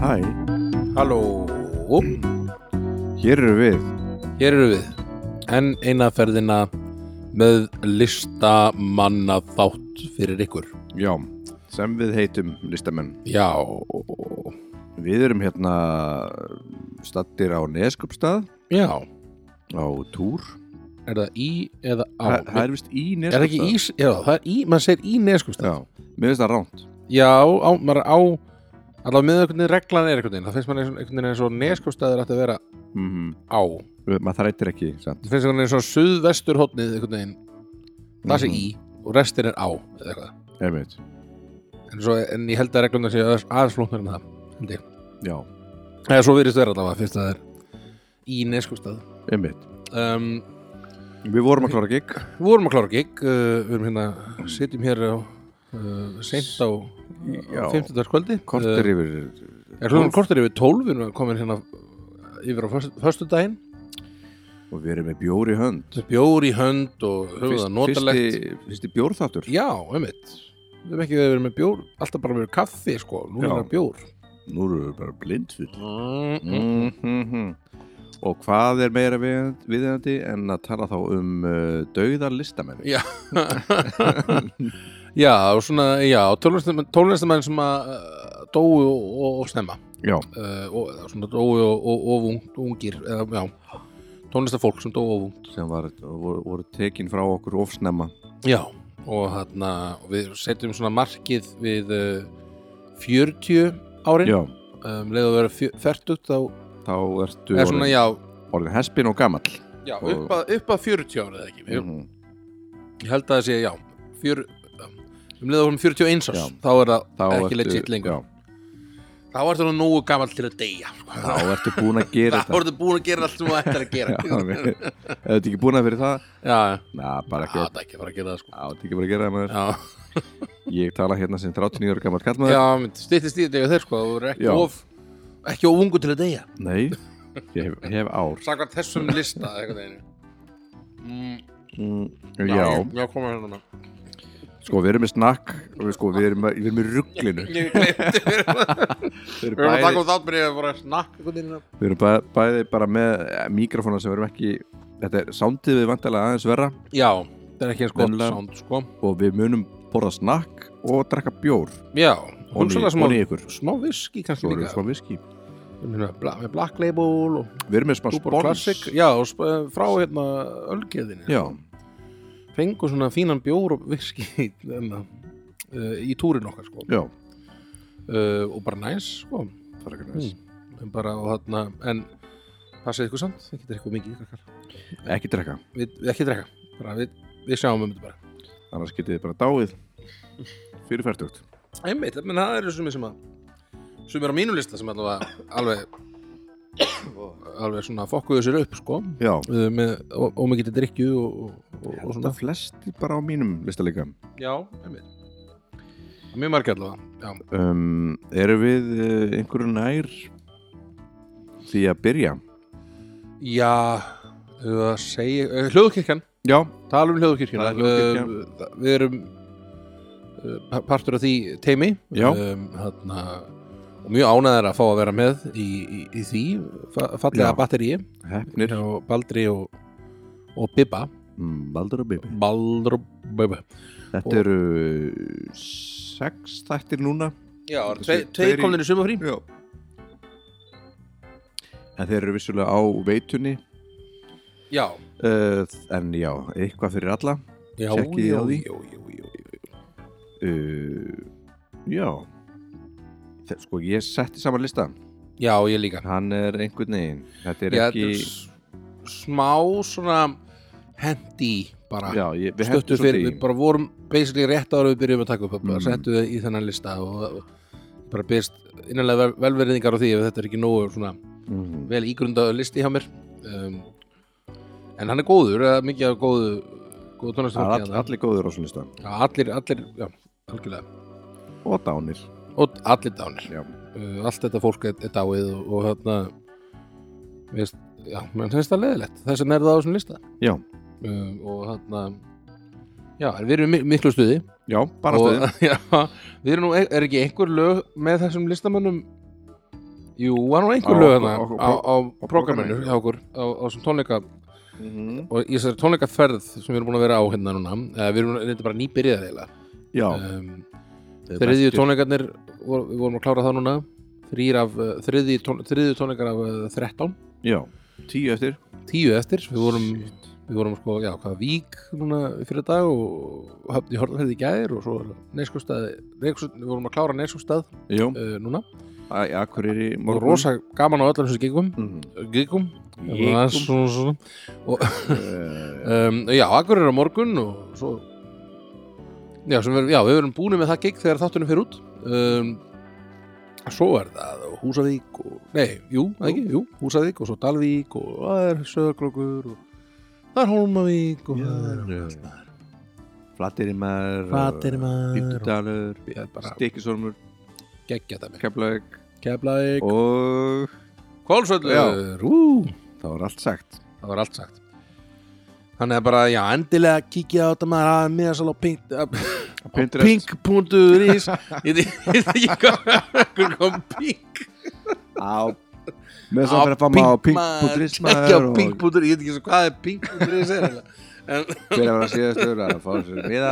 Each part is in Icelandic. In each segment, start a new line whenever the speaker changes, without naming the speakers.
Hæ,
Halló,
hér eru við
hér eru við En eina ferðina með listamanna þátt fyrir ykkur
Já, sem við heitum listamenn
Já,
Við erum hérna stattir á Neskupstað
já
á túr
Er það í eða á?
Þa- Það er vist í
er,
Neskupstað
það ekki í, já, það er í, maður segir í neskustaf
Já, mér finnst það ránt
Já, á, maður er á Allavega með einhvern veginn reglan er einhvern veginn Það finnst maður einhvern veginn eins og neskustafur ætti að vera
mm -hmm.
á
Maður þrættir ekki sant?
Það finnst einhvern veginn eins og suðvestur hóttnið einhvern veginn Það sé
Mhm.
í og restin er á eða eitthvað
Einmitt.
En, svo, en ég held að reglum þessi aðeins flóknar en það held ég.
Já,
Eða svo virðist vera allavega fyrst að það er í neskustad
einmitt
um,
Við vorum að klára gig
Við vorum að klára gig uh, við erum hérna, sitjum hér á, uh, seint á,
Já.
á 50. kvöldi
Kortir
uh,
yfir
er hljóðan kortir yfir 12 við erum komin hérna yfir á föstu daginn
og við erum með bjór í hönd
bjór í hönd og höfum það notalegt
fyrsti, fyrsti bjórþáttur
Já, einmitt við erum ekki verið með bjór, alltaf bara verið kaffi sko, nú
Já.
er það bjór
Nú erum við bara blindfull
mm,
Mhm. Og hvað er meira við- viðeigandi en að tala þá um uh, dauða listamenn?
Já Já, og svona, já, tónlistamenn, tónlistamenn sem að uh, dóu og, og, og snemma
Já,
uh, og, eða svona dóu og, og, og ung, ungir eða, já, tónlistafólk sem dóu og ung
sem var, voru, voru tekin frá okkur ofsnemma.
Já, og þarna og við setjum svona markið við uh, 40 árin
Já,
um, leið að vera fjö- fertugt þá
þá ertu
er svona,
orðin,
já,
orðin hespin og gamall.
já
Og-
upp, að, upp að 40 ára eða ekki, mm.
Mhm.
ég held að það sé, já fjör, um, um leið að vera 41 árs
Já.
þá er það
Þá
ekki legit lengur
Já,
Þá ertu nú nógu gammal til að deyja sko.
þá ertu búin að gera
Þá
þetta.
ertu búin að gera allt sem þú ættir að gera
Já, við- Ef þú ert ekki búin að fyrir það,
Já,
na, bara
já,
ekki.
það er ekki að fara að gera það sko
Já, þú ert ekki búin að gera það maður.
Já,
Ég tala hérna sem 39 ára gamall kallmaður.
já mynd, styttist í þetta þeir sko Þú eru ekki
Já.
of ekki of ungu til að deyja
Nei, ég hef, hef ár.
Sakar þessum lista eitthvað einu mm,
Mm,
ég- Já, koma hérna
Sko, við erum með snakk og við, sko, við erum, við erum með rugglinu
Ég glemti Við erum að
Við
við erum að taka
bæði,
út átt Mér er bara að snakka eitthvað einu
við erum bæ- bæði bara með eh, mikrofóna sem við erum ekki Þetta er sándið við vantilega aðeins verra
Já, það er ekki eins gott
Venjulega.
sound sko
og við munum borða snakk og drekka bjór
Já,
og
hugsaðlega smá
í ykkur
smá viski kannski
Svo erum
líka
við smá viski
Ég meina, bla- með Black Label og
Við erum með smá
Túborg
spons
Classic Já, og sp- frá hérna Ölgeðinni
Já,
fengu svona fínan bjór og viski enna, uh, í túrin okkar sko.
já
uh, og bara næs sko.
Það er ekki næs
en bara og þarna en passið ykkur samt, ekki drekka of mikið krakkar.
Ekki drekka,
við, við ekki drekka, bara við, við sjáum um þetta bara
annars getið þið bara dáið Fyrir færtugt
einmitt, menn það eru sumir sem að sumir á mínu lista sem allavega alveg alveg svona fokkuðu sér upp sko
Já,
uh, með ómikið drikju og, og, og, og
þetta
svona
flesti bara á mínum listalega
já, einmitt mjög margir allavega, já,
um, Erum við eh, einhverju nær því að byrja?
já uh, segi, uh, hljóðkirkjan
Já,
tala um hljóðkirkjuna
Tala um hljóðkirkjuna.
Uh, það- við erum uh, pa- partur af því teimi
Já.
um, þarna, og mjög ánæðar að fá að vera með í, í, í því fa fallega
Já.
batteríi
hefnir
og Baldri og, og Bibba
Mm, Baldur og Bibi
Baldur og Bibba
Þetta
Og-
eru sex þættir núna
Já,
tve- tveir
tveir
í-
komnir í sumafrí
Já En þeir eru vissulega á veitunni
Já,
uh, En já, eitthvað fyrir alla
já,
Tjekkið
já,
á því.
já, já, já, já.
uh, Já Þe- Sko, ég setti saman lista
já, ég líka
Hann er einhvern veginn Þetta er
Já,
ekki
þetta er s- smá svona hendi bara
Já, ég, við
stöttu
hentum
fyrir,
svolítið
við
í
bara vorum basically rétt ára við byrjum að taka upp bara
Mm.
settum við í þennan lista og bara byrst innanlega vel- velverðingar á því ef þetta er ekki nógu svona
Mhm.
vel ígrundaðu listi hjá mér um, en hann er góður, eða mikið af góðu góðu
Það er
tónlistafólki
all,
hérna.
allir góður á svona lista
Já, allir, allir, já, algjörlega
Og dánir
og allir dánir
Já,
uh, allt þetta fólk er, er dáið og, og þarna veist, já, menn finnst það leðilegt þess að nærða á þessum lista
já,
um, og þarna já, en við erum í mi- miklu stuði
já bara
og,
stöðið
já, við erum nú, er ekki einhver lög með þessum listamönnum Jú, var nú einhver
Á-
lög þarna
á- á-
á, á,
á
prógraminu
prógramminu.
hjá okkur á, á þessum tónleika
Mhm.
og í þessari tónleikaferð sem við erum búin að vera á hérna núna eða við erum þetta er bara nýbyrjað eiginlega
Já,
um,
þeir
þriðju
bestu.
tónleikarnir vor, við vorum að klára það núna þrýr af uh, þriðju, tón, þriðju tónleikar af uh, 13
Já, tíu eftir
tíu eftir, við vorum við vorum sko, já, hvað, Vík núna fyrir dag og höfn í Hortafjörði í gær og svo neyskustæði við vorum að klára neyskustæð
Jú,
uh, núna
að Akureyri í
og
morgun
rosa gaman á öllum þessum gigum
Mhm.
gigum
Gigum.
Það er svona, svona.
Eh,
Um, já, akkur er á morgun og svo já, sem við, já, við verum búin með það gig þegar þáttunum fyrir út um, svo er það Húsavík og, nei, jú, það ekki, jú Húsavík og svo Dalvík og það er Söðarkrókur og það er Hólmavík og það er
Já. Flateyrimar
Fatir maður
Dýpdalur
og- ég er bara
Stikkisormur
geggja það mér
Keflavík
Keflavík,
og
Kólsvöllur, úúú
það var allt sagt
það var allt sagt þannig að bara, já, endilega kíkja á þetta maður að miðasal á pink á
Pinterest.
pink.is ég veit ekki hvað hver kom pink
á með þess að vera fram á pink.is
ekki á
maður og
pink.is, ég veit ekki svo hvað er pink.is er eiginlega. en
fyrir að vera síðastur að fá sér miða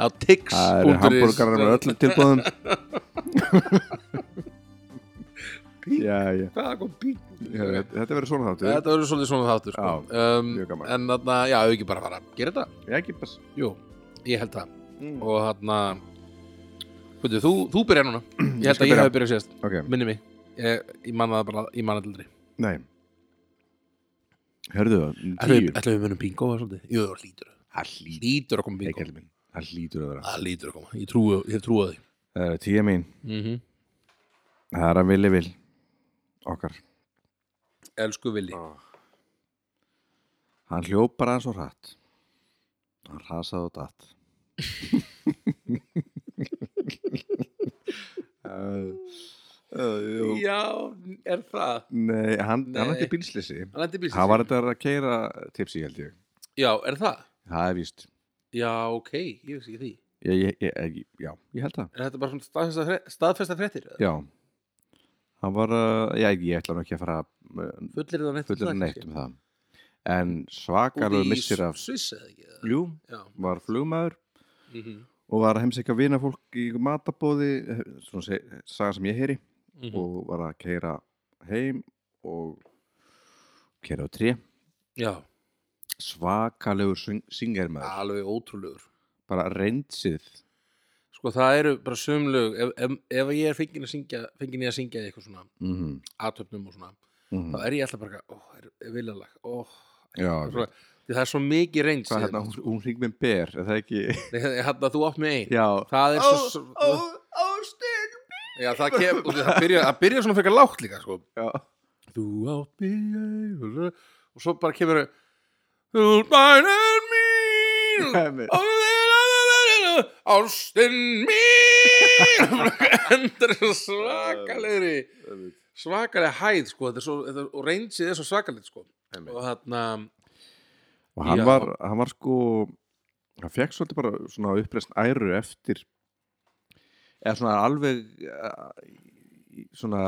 á tix.is
það eru hambúrgarar með öllum tilbúðum já, já
hvað kom pink.is
Já, þetta þetta verður svona þáttu
þetta verður svolítið svona þáttur sko. um,
mjög gaman.
en þarna, já, ef við ekki bara fara gera þetta,
ég ekki bara
jú, ég held það
Mm.
og þarna Veitu, þú, þú byrja núna ég held
skal
að ég
byrja.
hef byrjað sérst
ok,
minni mig ég, ég man það bara, ég man það aldrei
nei herðu það, tíu
ætlaðu við munum bingo eða svolítið? Jú, það hlýtur
það hlýtur
hlýtur að koma
Nei,
bingo
kallinn minn, það hlýtur að vera
það hlýtur að koma, ég trúi, ég trúi að því
Það eru tíu mín,
mm -hmm.
það er að villi vil okkar
elsku villi
Hann hljóp bara eins og hratt. Hann rasaði og datt.
Eh,
uh, uh,
já, er það
nei, hann, hann
eh, Nei.
hætti bílslisi.
hann lendi bílsins
Hann var þetta að keira tipsi, held ég.
já, er það
Það er víst.
já, ok, ég veist ekki því
Ég, ég, ég, ég, já, ég held það.
er þetta bara svona staðfesta, fre- staðfesta fréttir eða?
Já. Hann var, uh, já, ég ætla nú ekki að fara uh,
fullir það neitt um
fullur
það,
neitt
kannski?
um það. En
Úti
svakalur
í
missir af,
Sviss eða ekki eða?
jú,
já,
var flugmaður
mm -hmm.
og var að heimsækja vinafólk í matabóði svona seg- saga sem ég heyri og var að keira heim og keira á tré
já
svakalegur syngar maður
alveg ótrúlegur
bara reyndsið
sko það eru bara sömlög ef, ef, ef ég er fengin að syngja fengin ég að syngja í eitthvað svona
mm -hmm.
aðtöfnum og svona
Mm
þá er ég alltaf bara ó, er, er viljalag ó,
Já,
svo, því það er svo mikið reynd
hvað hérna, hún, hún hring með ber er það ekki,
hérna þú átt með einn
já
það er svo,
Ó, ástin
já, það, kem, og því það, byrja, það byrja svona frekar lágt líka sko.
já,
þú átt með einn og svo bara kemur þú bænir mín
Einmitt.
Ástin mín Endur svo svakalegri Svakaleg hæð sko þetta er svo, þetta er, Og reynsið er svo svakaleg sko
Einmitt.
Og þarna
og hann
Já.
var, hann var sko hann fekk svolítið bara svona uppreisn æru eftir eða svona alveg eh, í- svona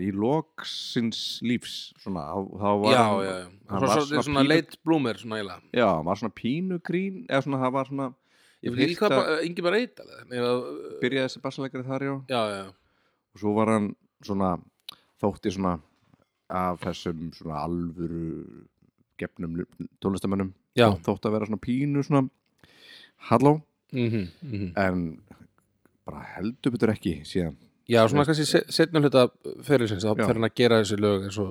í loksins lífs svona, þá- þá var
Já,
hann,
já, já
hann var
Svo svo-
svona
svona
pínu-
leit blúmer svona eiginlega
já, hann var svona pínugrín eða svona það var svona
Ég
hef
vil
heyrt
líka
að-
bara, yngi bara eitt alveg
byrjaði þessi bassalegari þar já og
Já, já,
svo var hann svona þótti svona af þessum svona alvöru gefnum tónlistamönnum
já
þótti að vera svona pínu svona halló
mhm, mhm.
en bara heldur betur ekki síðan
Já, svona kannski se- seinna hluta fyrirlsins þá
Já.
fer hann að gera þessi lög eins og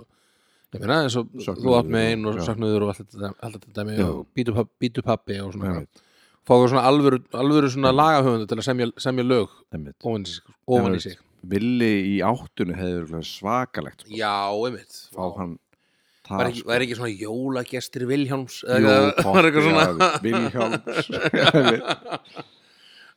ég meina eins og
Söknuður
þú átt með
og-
einn og
já.
saknuður og allt þetta allt þetta dæmi
Já.
og býtu pab- býtu pappi og svona
Einmitt.
fá það svona alvöru, alvöru svona lagahöfundu til að semja, semja lög
Einmitt.
ofan í sig, ofan í sig.
villi í áttunni hefði verið svakalegt sko.
Já, einmitt
fá hann það
Var ekki, var ekki svona jólagestir Vilhjálms
sko.
eða
Jú,
var eitthvað svona,
potti, já, Vilhjálms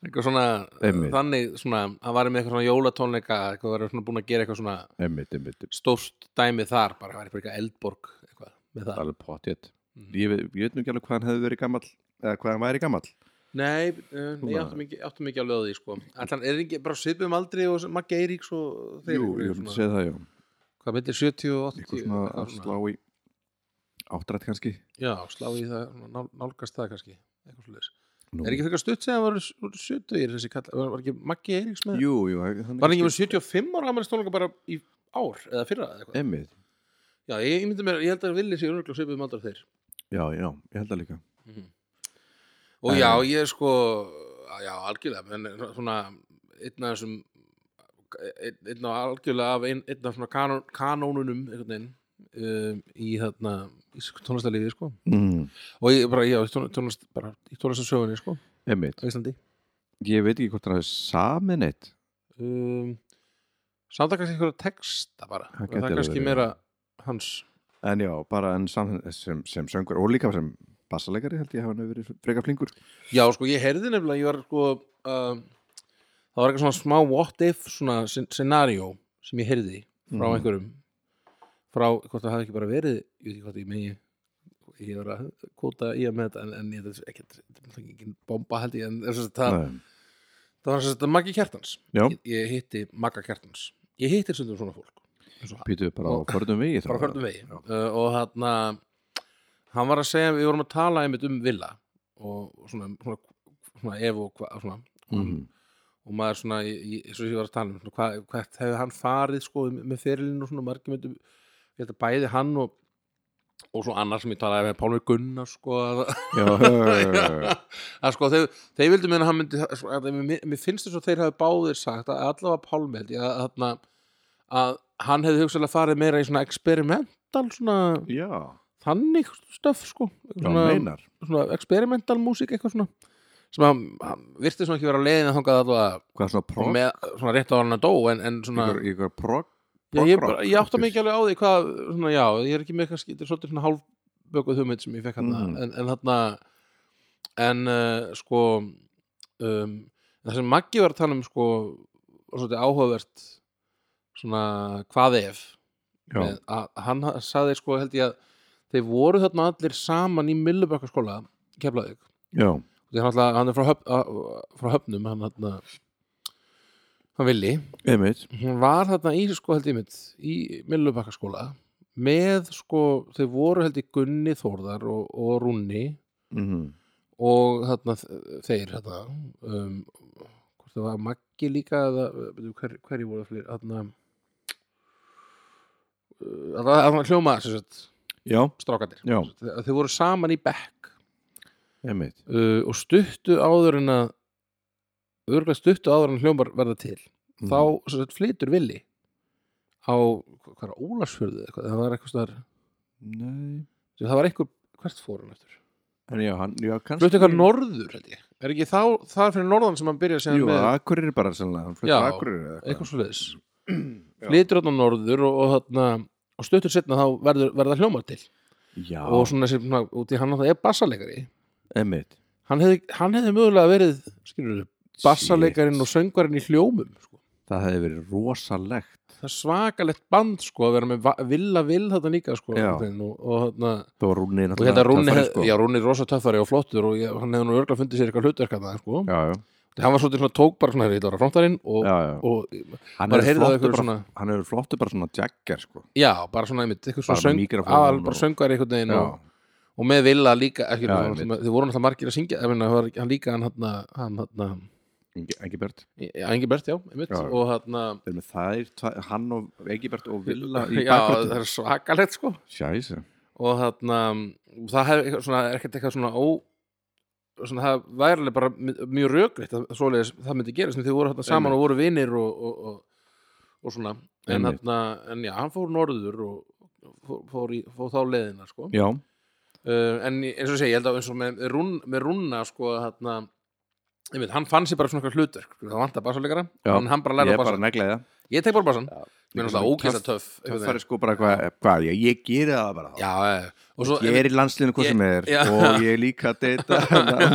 eitthvað svona
Einmitt.
þannig svona, hann var með eitthvað svona jólatónleika eitthvað var svona búin að gera eitthvað svona
einmitt, einmitt,
stórt dæmi þar bara var eitthvað eldborg eitthvað með það Mhm.
alveg pottjett ég, veit- ég veit nú ekki alveg hvað hann hefði verið gamall eða hvað hann væri gamall
Nei, um, ég
Svona-
áttum ekki, áttum ekki alveg á því sko. Þannig er ekki bara svipum aldrei og Maggi Eiríks og þeir
Jú,
eru
ég myndi
svona-
segja það, já
Hvað myndir 70 og 80
Eitthvað svona
eitthvað
að slá í áttrætt kannski
Já, slá í það, svona nál, nálgast það kannski Eitthvað svoleiðis.
Nú.
Er ekki fyrir stutt sem það voru voru 70 þessi kall, var, var ekki Maggi Eiríks með
Jú, jú, hann
Var hann ekki með 75 ára afmælis tónleika bara í ár eða fyrra eða eitthvað
Emmið,
Já, ég, ég myndi mér, ég held að villi sér örgulega svipum aldrei þeir
já, já, ég held að líka
Og
En-
já, ég er sko Já, algjörlega, menn svona einn af þessum einn- einn af algjörlega af einn, einn af svona kanón, kanónunum einhvern veginn um, í þarna í tónlistarlífi, sko
mm.
og ég bara, já, í tón- tónlist bara í tónlistarsögunni, sko,
Emmið,
á Íslandi
ég veit ekki hvort hann er samin eitt
um, samt að kannski einhverja texta bara,
Það
það
gæti
er
alveg
kannski
verið,
meira hans
En já, bara en sam, sem, sem söngur og líka sem bassaleikari held ég að hann hefur verið frekar flingur
já, sko, ég heyrði nefnilega, ég var sko um, það var eitthvað svona smá what if svona sen- scenario sem ég heyrði frá
Mhm.
einhverjum frá, hvort það hafði ekki bara verið ég veit ekki hvað ég megi ég var að kóta í að með þetta en, en ég þetta er ekkert, þetta er ekki bomba held ég en þess að það,
Nei.
það var þess að Maggi Kjartans
Já,
ég, ég hitti Magga Kjartans ég hittir stundum svona fólk eins og hann,
pýtu bara á förnum vegi þá.
bara hvernig vegi uh, og þarna hann var að segja, við vorum að tala einmitt um Villa og svona, svona, svona ef og hvað svona,
Mhm.
og maður svona, ég- ég- eins og ég var að tala um svona, hvað, hvert hefði hann farið sko með fyrirlinu og svona margir myndum ég held að bæði hann og og svo annar sem ég talaði með Pálmi Gunnar sko að,
Já, já, já, já, já.
að sko þeir, þeir vildu meina að hann myndi sko, að, mér, mér finnst þess að þeir hafi báðir sagt að allavega Pálmi held ég að, þarna, að hann hefði hugsalega farið meira í svona experimental svona
Já,
þannig stöf sko
já,
svona,
meinar
svona experimental músík eitthvað svona sem að hann virti svona ekki vera leiðin að þangað allavega
Hvað er svona prog?
með svona rétt á hann að dó en, en svona
Ykkur, ykkur prog?
Já, ég,
Rock,
bara, ég átta
rock,
mig ekki alveg á því hvað, svona, já, ég er ekki með kannski, þetta er svolítið svona hálfbökuð hugmynd sem ég fekk hann
Mhm.
en, en þarna en uh, sko um, það sem Maggi var að tala um sko, var svolítið áhugavert svona hvað ef
Já,
með, að, hann saði sko held ég að þeir voru þarna allir saman í Millubökkaskóla, keflaðið
já,
því hann, alltaf, hann er frá, höf, að, frá höfnum hann, hann, hann villi
einmitt
hún var þarna í sko held ég mitt í Millubakkaskóla með sko, þau voru held ég Gunni Þórðar og, og Rúnni
Mhm.
og þarna þ- þeir þarna um, hvort það var Maggi líka eða veitum, hver, hverju voru það fleiri þarna uh, þarna- þarna hljóma sem sagt,
Já,
strákandir
Já.
Þe- þau voru saman í bekk
einmitt
uh, og stuttu áður en að örgulega stuttu áður en hljómar verða til
Mhm.
þá sem sagt, flytur villi á, hvað er Ólarsfjörðu eða eitthvað, það var eitthvað star,
Nei
það var eitthvað, hvert fór hann eftir
En já, hann, já, kannski
flutt eitthvað norður, held ég er ekki þá, það er fyrir norðan sem hann byrja síðan
Jú,
með
Akureyri bara sannlega, hann flutti
Já,
Akureyri eða eitthvað.
eitthvað svo leiðis flytur hann á norður og, og, þarna, og stuttur setna þá verður, verða hljómar til
Já,
og svona sem, svona, út í hann náttúrulega er bassaleikari
einmitt
hann hefði, hann hefði mögulega verið skilur, bassaleikarin og söngvarinn í hljómum sko.
Það hefði verið rosalegt
það er svakalegt band sko að vera með va- Villa Vill þetta líka sko
Já.
einhvern veginn, og, og þarna
Það var Rúni
og hérna Rúni,
töffari,
hef,
sko.
já, Rúni er rosa töffari og flottur og ég, hann hefði nú örgla fundið sér eitthvað hlutverk að það sko.
já, já,
hann var svolítið svona tók bara svona þetta var frontarinn og,
já, já.
og
Hann
bara
hefur
heyrði það
flottu
eitthvað
bara,
svona
hann hefur flottu bara svona jagger sko.
já, bara svona einmitt, eitthvað svona
Bara
söng
mígrafón
aðal
og-
bara söngar einhvern veginn
Já,
og, og með Villa líka ekki,
Já,
já,
einmitt.
svona, þið voru náttúrulega margir að syngja ég meina, það var- hann líka hann hann hann, hann,
Engi- Engibert
hann Engibert, já, einmitt
Já.
og hann
Þeir með þær, tva- hann og Engibert og Villa í
já, það
bakgröndu
er svakalegt sko
Sjæsa
og þarna og það hef eitthvað svona, er ekkert eitthvað svona ó svona það væri alveg bara mi- mjög rökriðt að svoleiðis það myndi gerast, því voru þarna saman og voru vinir og, og, og, og svona en,
Einmitt.
þarna, en já, hann fór norður og fór, fór, í, fór þá leiðina sko.
Já,
uh, en ég- eins og segja, ég held að eins og með, rún, með rúnna sko, þarna, einmitt, hann fann sér bara svona eitthvað hlutverk sko, það vantar basalegara,
Já.
en hann bara
ég
lærði
er
að
bara
basa
neglaði það
ég tek bara basan,
Já.
mér er náttúrulega ógæsta töff
Það
einhvern
er
veginn.
sko bara hvað, hvað ég, ég geri það bara þá
já, eh, og svo
Ég er í landslinu hvað sem er
Já.
og ég er líka að deyta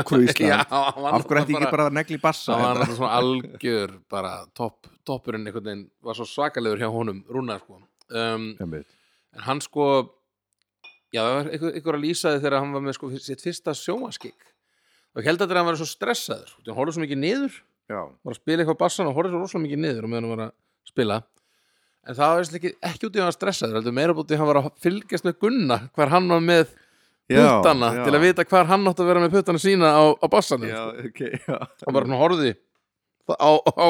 okkur í
Já,
Ísland
hann var
Af hverju ætti ég ekki bara að negli bassa
það var
hérna?
náttúrulega svona algjör bara topp, toppurinn einhvern veginn var svo svakalegur hjá honum Rúnar sko um,
Einmitt.
en hann sko já, það var einhver, einhver að lýsa því þegar hann var með sko sitt fyrsta sjómaskik og ég held að þetta er að hann vera svo stressaður því hann horfði svo mikið niður,
já,
var að spila eitthvað á bassan og horfði svo rosalega mikið niður og meðan hann var að spila en það var veist ekki, ekki út í að hann var stressaður heldur meira bútið hann var að fylgjast með Gunna hvar hann var með puttana
já.
til að vita um hvar hann átti að vera með puttana sína á, á bassanum
já, ok, já
hann bara svona horfði á, á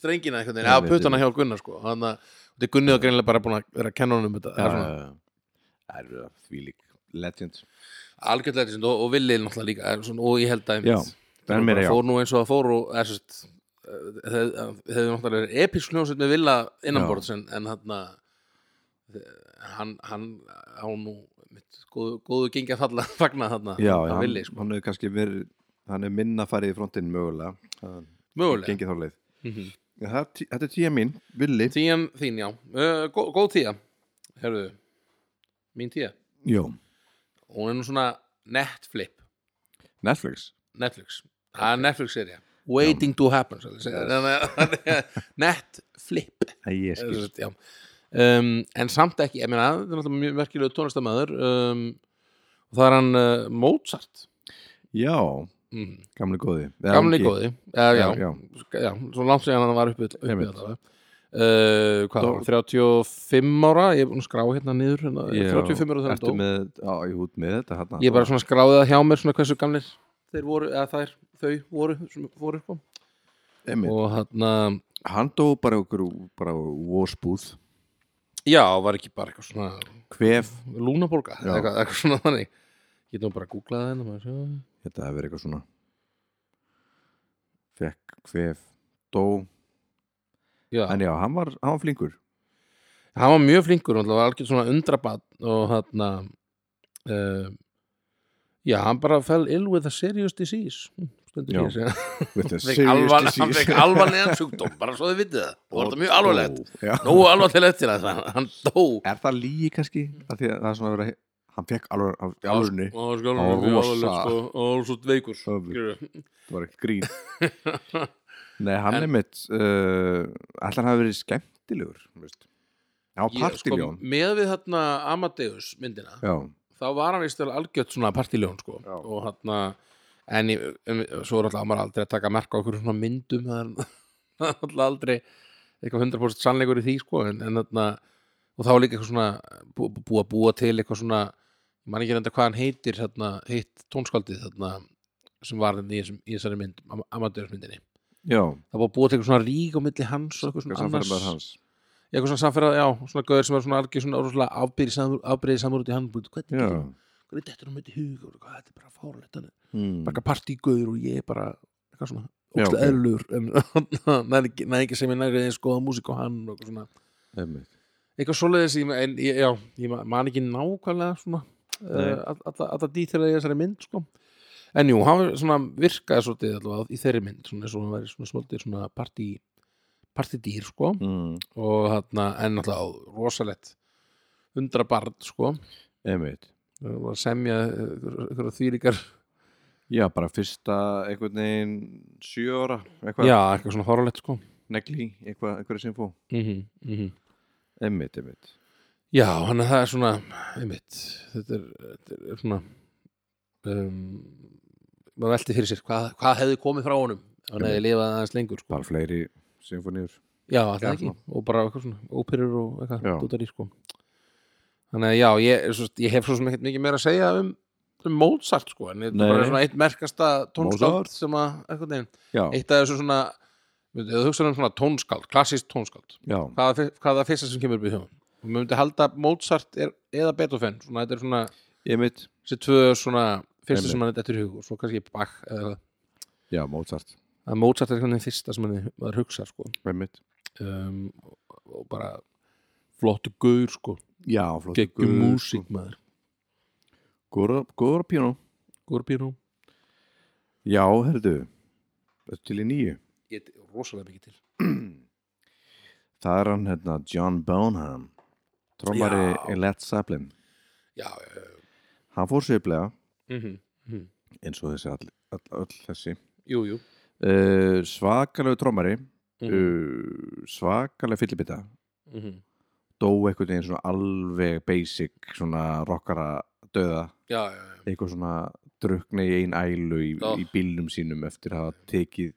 strengina einhvern veginn,
Já,
eða puttana hjá Gunnar sko þannig að þetta er Gunnið og greinilega bara búin að vera að kenna honum um þetta Það er svona
Eh, það eru því lík legend
algjörlega þetta og, og villið náttúrulega líka er svona, og ég held að
Já, það er meira,
bara
já.
fór nú eins og það fór og eða, sest, þeir, þeir náttúrulega verið episk hljómsveit með villa innanborðs en, en hann hann, hann á nú mitt, góðu, góðu gengi að falla fagna þarna
já,
að
hann,
villi sko,
hann hefur kannski verið hann hefur minna farið í frontinn mögulega hann
mögulega
gengið þá leið
mm -hmm.
En það er tí- þetta er tíja mín, villi
tíjan þín, já, uh, gó, góð tíja herðu, mín tíja
já,
hún er nú svona netflip
Netflix
Netflix, það er Netflix-serja Waiting to happen svo að segja. Þannig að- Netflip
ég
eða svo sagt, já. um, en samt ekki, ég meina það er náttúrulega mjög verkilegu tónlistamæður um, og það er hann uh, Mozart
já,
mm.
gamli góði Eða
gamli
ungi.
góði já, já,
Já, já.
já. já, svo langt sér hann var uppi, uppi
Einmitt.
allavega. Uh, hvað, var hann, 35 ára ég er búin að skrá hérna niður hérna,
Já,
35 ára þegar hann
ertu
dó
með, já, ég út með þetta hann
ég bara svona skráði það hjá mér svona hversu gamlir þeir voru, eða þær, þau voru, sem voru sko.
Einmitt.
og hérna, hann að
hann dó bara okkur bara vósbúð,
Já, var ekki bara eitthvað svona
kvef
lúnaborga,
Já.
eða eitthvað, eitthvað svona þannig Ég nú bara að googla það hérna maður sjá.
þetta hefur verið eitthvað svona fekk kvef dó,
Já,
en já, hann var, hann var flinkur
hann var mjög flinkur, hann var algjörn svona undrabann og þarna uh, Já, hann bara fell ill with a serious disease Hm, stendur
Já.
hér, segja.
With a
Hann fekk
serious
alvar-
disease.
Hann fekk alvarlegan sjúkdóm, bara svo þið vitið það og var þetta mjög alvarlegt,
Dó, já.
nógu alvarlegt til þess að hann- hann dó
er það lígi kannski af því að það er svona að vera hann fekk alveg á í alvörunni
og hann skjálfur
Hann var
mjög
rosa.
alvarlegt sko, og hann var svo veikur
Öfugt.
skilurðu.
það var ekkert grín nei hann er mitt uh, allan hafi verið skemmtilegur þú veist. já
Ég, sko,
partiljón
Með við þarna Amadeus myndina
já,
þá var hann veist vel algjört svona partiljón sko.
Já.
og hann en ég, um, svo er alltaf maður aldrei að taka merka okkur svona myndum það er alltaf aldrei eitthvað 100% sannleikur í því sko. en, en þarna, og þá er líka eitthvað svona bú- bú- búa búa til eitthvað svona ég man ekki reynda hvað hann heitir þarna, heitt tónskaldið þarna, sem var þarna í, þessum- í þessari mynd Am- Amadeus myndinni
já
það var búa til eitthvað svona rík á milli hans og eitthvað
hvað
svona
samferðar
annars
maður hans
Já, eitthvað svona samferða, já, svona gauður sem er svona algjör svona orðslega afbyrðið samur út í hann búið, hvernig
já
getur, hvernig þetta er um þetta hug og hvað, þetta er bara fárlegt hann er
mm.
bara partígauður og ég er bara eitthvað svona,
Já,
ógstlega
ok.
eðlur en næði ekki, næði ekki sem ég næri eins góða músík á hann og eitthvað svona
einmitt.
eitthvað svoleiðis, ég, en ég, já, ég ma- man ekki nákvæmlega svona
Nei.
uh, alla, alla dýtilega í þessari mynd, sko en jú, hann svona virkaði svolítið allavega í þeirri mynd, svona eins og hann væri svona svolítið svona partí, partídýr, sko
Mm.
og þarna, en náttúrulega rosalett undra barn sko
einmitt
Það var að semja eh, ykkur þýrikar
já bara fyrsta einhvern veginn sjö ára eitthvað
já, eitthvað svona horralett sko
negli eitthvað einhverja sinfó
mm -hmm,
einmitt einmitt
já, hann er það er svona einmitt, þetta er, þetta er svona um, maður velti fyrir sér hvað, hvað hefði komið frá honum ef hann hefði lifað aðeins lengur sko.
bara fleiri sinfoníur
já, alltaf
Já,
ekki, og bara eitthvað svona óperur og
Já.
eitthvað, dútar í sko þannig að já, ég, svo, ég hef svo sem ekkert mikið meira að segja um, um Mozart sko, en þetta
Nei,
er bara
nei.
svona eitt merkasta
Mozart.
tónskáld sem að, eitthvað neginn
já
eitt af þessu svona ef þú hugsaður um svona tónskáld, klassist tónskáld
já
hvað er fyr- hvað er það fyrsta sem kemur upp í hugan og mér myndi halda að Mozart er, eða Beethoven svona þetta er svona,
einmitt
þessi tvö svona fyrsta
Einmitt.
sem mann er þetta í hug og svo kannski Bach eða eitthvað.
já Mozart
að Mozart er einhvern veginn fyrsta sem mann maður hugsa sko
einmitt
um, og, og bara flottu gaur sko,
já sko. flott
geggjum músík maður
góður góður á píanó
góður pínu
Já, herðu Þetta til í nýju
ég er rosalega mikið til
Það er hann hérna John Bonham Trommari
Já.
í Led Zeppelin
já, já, já.
Hann fór sveiflega
Mm
Mhm.
-hmm.
eins og þessi all, all, all þessi
jú, jú
uh, Svakalegu trommari
mm
uh, Svakaleg fyllibita
Mhm.
Dó einhvern veginn svona alveg basic svona rockara döða
já, já, já,
eitthvað svona drukna í ein ælu í,
Já.
í bílnum sínum eftir að hafa tekið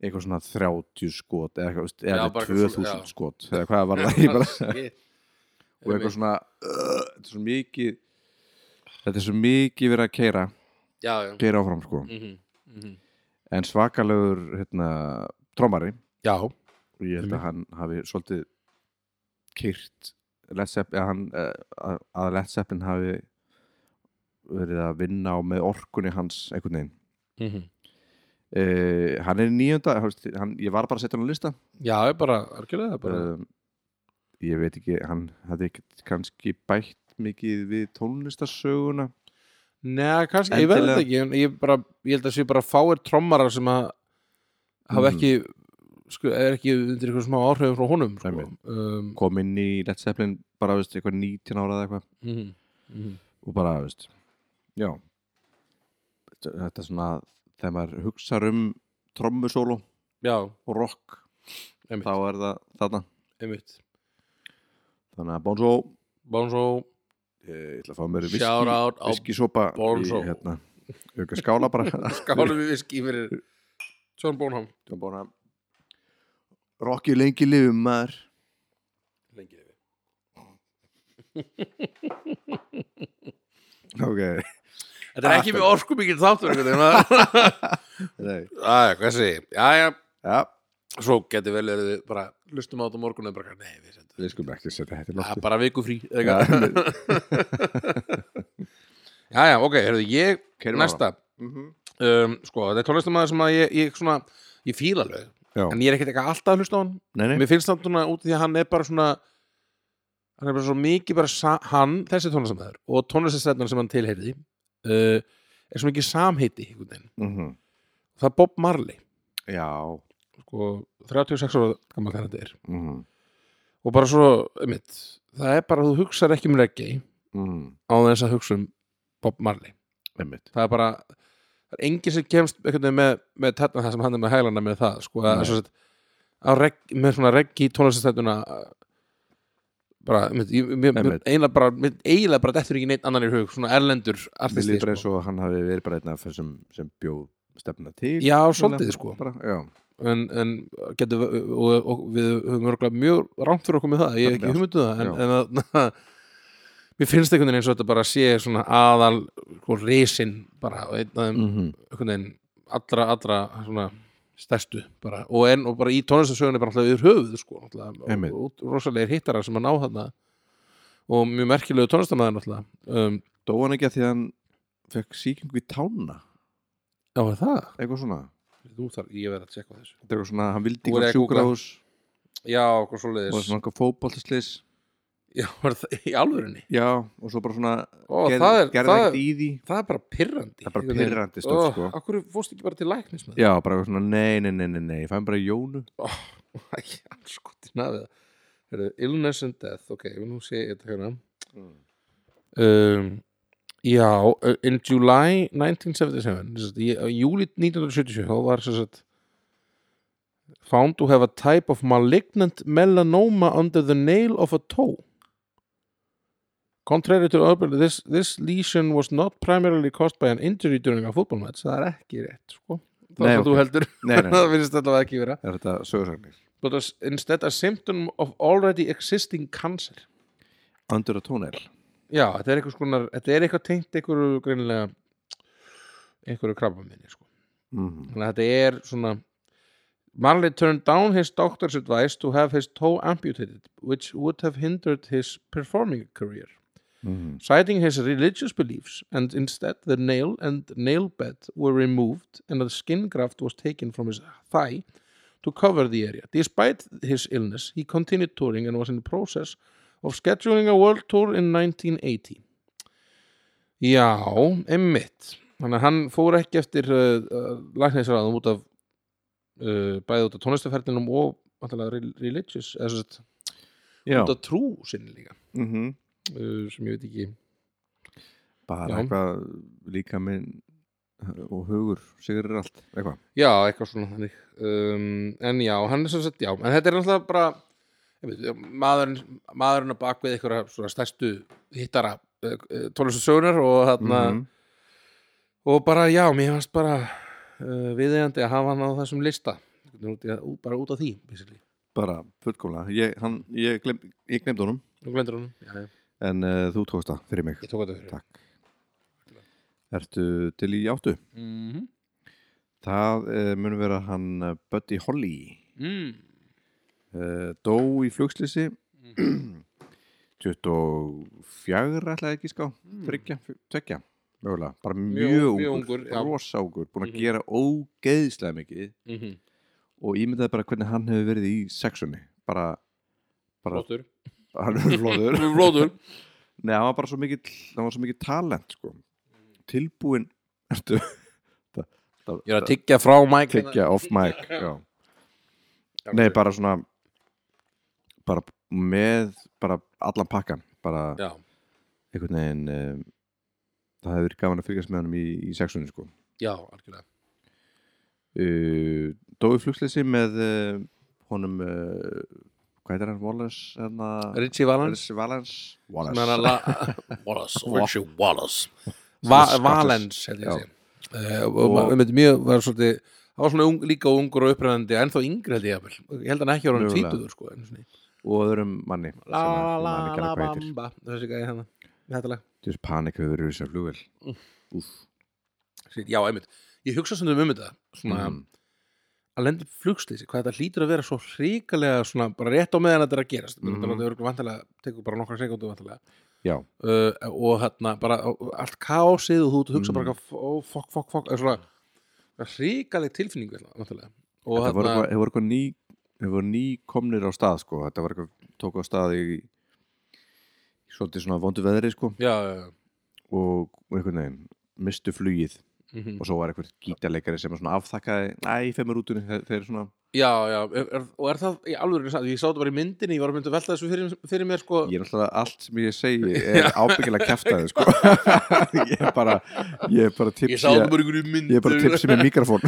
eitthvað svona 30 skot eða, eitthvað, veist,
Já,
eða
bara
2000
eitthvað svona- já.
skot eða hvað var það ég bara, og eitthvað
Einmitt.
svona uh, þetta er svo mikið þetta er svo mikið verið að keira
já, já.
keira áfram sko
Mhm, mhm.
en svakalegur hérna, trommari
já,
og ég held
Einmitt.
að hann hafi svolítið kyrt Lepp, að, hann, eh, að, að Led Zeppelin hafi verið að vinna á með orkunni hans einhvern veginn
mhm.
uh, hann er í nýjönda hann, ég var bara að setja hann á lista
já, ég bara algjörlega bara,
um, ég veit ekki, hann hafði ekkert kannski bætt mikið við tónlistarsöguna
neða, kannski, ég veit þetta
endilega-
ekki en ég, bara, ég held að sé bara fáir trommarar sem að hafa
Mhm.
ekki sku, er ekki undir eitthvað smá áhrifum frá honum sko.
Einmitt.
um,
kom inn í Led Zeppelin bara, veist, eitthvað 19 ára eða eitthvað
mhm, mhm.
og bara, veist, já Þetta- þetta er svona þegar maður hugsar um trommusólu
já,
og rock
Einmitt.
þá er það þarna
einmitt
þannig að Bonzo,
Bonsó,
ég ætla að fá mér
shout out á
viskisopa
Bonzo.
í hérna, auka skála bara
skálum við viski fyrir John Bonham
John Bonham Rocky lengi lifum maður
lengi yfir
ok,
Þetta er ekki með orku mikil þáttur Það
nei
er hvað segi Jæja,
ja,
svo getur vel verið við bara Lustum á þetta á morgun og bara Nei, við setjum
við skulum ekki setja þetta í
Það
lofti
er bara viku frí
ja,
Jæja, ok, herrðu, ég
Keyrum
Næsta,
mhm.
um, sko, þetta er tónlistamæður sem að ég, ég svona Ég fíla alveg
Já.
En ég er ekkert eitthvað alltaf að hlusta á hann
nei, nei,
Mér finnst hann svona út af því að hann er bara svona Hann er bara svo mikið bara sa, Hann, þessi tónlistamæður Og tónlistastæðnar sem hann tilheyrði uh, Er svo mikið samheiti einhvern veginn.
mhm.
Það er Bob Marley
já
sko, 36 ára gammal þegar þetta er
mhm.
og bara svo, einmitt, það er bara að þú hugsar ekki um reggae
Mhm.
á þess að hugsa um Bob Marley
einmitt
það er bara, það er engin sem kemst einhvern veginn með, með tætna það sem hann er með hælana með það, sko, að,
Nei.
svo sett að regg, með svona reggae tónlistastættuna bara, einmitt, ég- mér- mér-
Einmitt.
eiginlega bara mér- eiginlega bara dettur ekki neitt annan í hug svona erlendur
Mér
artisti, sko.
líður bara eins og hann hafi verið bara einn af þessum sem bjó stefna til
já, svolítið, sko
bara, já,
en, en getur, og, og, og við höfum örgulega mjög rámt fyrir okkur með það, ég hef ekki
Já.
hugmyndu það en, en að, mér finnst einhvern veginn eins og þetta bara sé svona aðal sko, resin bara, og einn af þeim
mhm.
einhvern veginn allra, allra svona stærstu bara, og, en, og bara í tónlistasögunni bara alltaf yfir höfuð sko, alltaf,
Einmitt.
og, og rosalegir hittarar sem að ná þarna og mjög merkilegu tónlistamæðin alltaf um,
dó hann ekki að því að hann fekk sýkingu í tána
já, er það,
eitthvað svona,
þú þarf ég verið að tjekka á þessu
þetta er eitthvað svona hann vildi
Þú
ekki
er
á
að googla.
sjúkrahús
já, hvað svo
og
leiðis
svona eitthvað fótboltaslis
já, var það í alvörinni
já, og svo bara svona
Ó,
gerð-
það er-
gerði
það er-
ekkert í því
það er bara pirrandi
Það er bara pirrandi stöf, sko.
Akkur fórst ekki bara til læknis með
Já, bara eitthvað svona, nei, nei, nei, nei, nei, ég fæði bara í jónu
það Æ, anskotin nafið Heru, Illness and death, ok, nú sé ég þetta hérna
Mm.
um, Já, uh, in July 1977 sem sagt, í uh, á júli 1977 þá var sem sagt found to have a type of malignant melanoma under the nail of a toe Contrary to urban, this, this lesion was not primarily caused by an injury during a football match. Það er ekki rétt, sko. Það
Nei,
er
ok.
þú heldur.
Nei, nei,
það finnst þetta ekki vera
er þetta sögursagnir
but as instead a symptom of already existing cancer
Under a tunnel
já, þetta er eitthvað skonar þetta er eitthvað tengt einhverju greinilega einhverju krabba minni sko.
mm.
þannig að þetta er svona Marley turned down his doctor's advice to have his toe amputated which would have hindered his performing career
Mm.
citing his religious beliefs and instead the nail and nail bed were removed and a skin graft was taken from his thigh to cover the area. Despite his illness, he continued touring and was in the process of scheduling a world tour in 1980. Já, emmitt. Þannig að hann fór ekki eftir uh, uh, læknisraðum út af uh, bæði út af tónlistaferðinum og væntanlega re- religious, eða svo sett,
Já,
út af trú sinni líka,
mm -hmm.
uh, sem ég veit ekki
bara
Já.
eitthvað líka minn og hugur, sigur er allt eitthvað
Já, eitthvað svona þannig um, En já, hann er sem sagt, já En þetta er náttúrulega bara ég veit, maðurinn, maðurinn að bakvið eh, Mhm. einhverja svona stærstu hittara tónlistu sögunar og þarna
Mhm.
og bara já, mér fannst bara uh, viðeigandi að hafa hann á þessum lista Út í að- ú- bara út af því basically.
bara fullkomlega ég, hann, ég, gleym, ég glemd honum
nú glendur hann já, já.
en uh, þú tókst það fyrir mig
ég tók þetta fyrir
Takk. Ertu til í áttu?
mm -hmm.
Það uh, mun vera hann eh, Buddy Holly
mm.
uh, dó í flugslýsi
Mm.
24 ætlaði ekki ská þryggja, tvekja mögulega, bara mjög,
Mm. Mjög- mjög
ungur,
ungur, já.
rosákur, búin að
Mhm.
gera ógeðslega mikið
Mm -hmm.
og ímyndaði bara hvernig hann hefur verið í sexunni bara, bara
flottur
hann er flóður
flottur
Nei, hann var bara svo mikið, hann var svo mikið talent sko. tilbúin ertu, það, það,
ég er að tyggja frá Mike
tiggja off mic já. Nei, bara svona bara með bara allan pakkan bara
já,
einhvern veginn um, það hefur verið gaman að fylgjast með honum í, í sexunni sko.
já, algjörlega
uh, Dói flugsleysi með uh, honum uh, hvað er hann, Wallace hérna,
Richie Valens
Richie Valens Wallace
sem er að la- Wallace, Richie Wallace Va
Svona
Valens held ég
Já.
að segja og, og, og með mjög var svolítið það var svona ung, líka ungur og upprennandi ennþá yngri held ég jafnvel. ég held að hann ekki var hann
Mögulega.
tvítuður sko einu sinni.
og öðrum manni sem
la
að- ég
la la
man ekki
la
alveg hvað heitir.
bamba þessi gæði hérna þetta lag
Þessi panik hefur verið þessar flugvel Úf
Shit, já, einmitt ég hugsa sem um þetta svona
Mm.
að lenda í flugslýsi hvað þetta hlýtur að vera svo hrikalega svona bara rétt á meðan þetta er að gerast mm
Mhm.
-hmm. þetta er vantilega tekur bara nokkra sekundu vantilega
Já,
uh, og hérna bara uh, allt kaosið og þú ert að hugsa
Mm.
bara eitthvað, ó, fokk, fokk, fokk er svona ríkaleg tilfinning hérna, náttúrulega. og
þetta voru
hérna,
eitthvað- þetta voru eitthvað ný Þetta voru ný komnir á stað sko Þetta var eitthvað, tók á stað í í Svolítið svona vondu veðri sko
já, já, já
Og og einhvern veginn Mistu flugið
mhm.
Og svo var eitthvað gítarleikari sem svona afþakkaði Æ, femur útunni Þeir, þeir svona
já, já, er, er, og er það í alvöru satt, ég sá þetta bara í myndinni, ég var að mynda að velta þessu fyrir, fyrir mér sko,
Ég er náttúrulega allt sem ég segi Er ábyggilega kæftaði sko Ég er bara Ég er bara
ég
tipsi
sá þetta bara í einhverju
Ég er bara
myndir
tipsi með mikrofón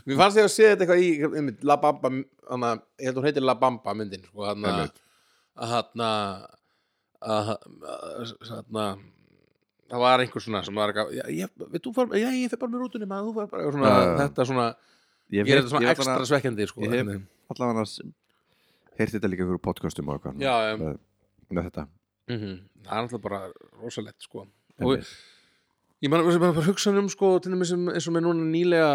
mér fannst ég að sé þetta eitthvað í einmitt, La Bamba, hana, ég held hún heitir La Bamba myndin sko, hana,
Einmitt.
að hana að hana það var einhver svona sem var eitthvað, já, ég, við, þú far, já, ég fyrir bara með rútunni maður, þú fyrir bara, og svona,
Já, já.
þetta svona ég er þetta svona ekstra svekkjandi sko,
ég hef-
þannig.
allavega annars heyrti þetta líka fyrir podcastum og eitthvað
já, um,
Með- með þetta
mm það er alltaf bara rosalegt sko, og
Einmitt.
ég man sem bara bara hugsa um sko til dæmis sem, eins og með núna nýlega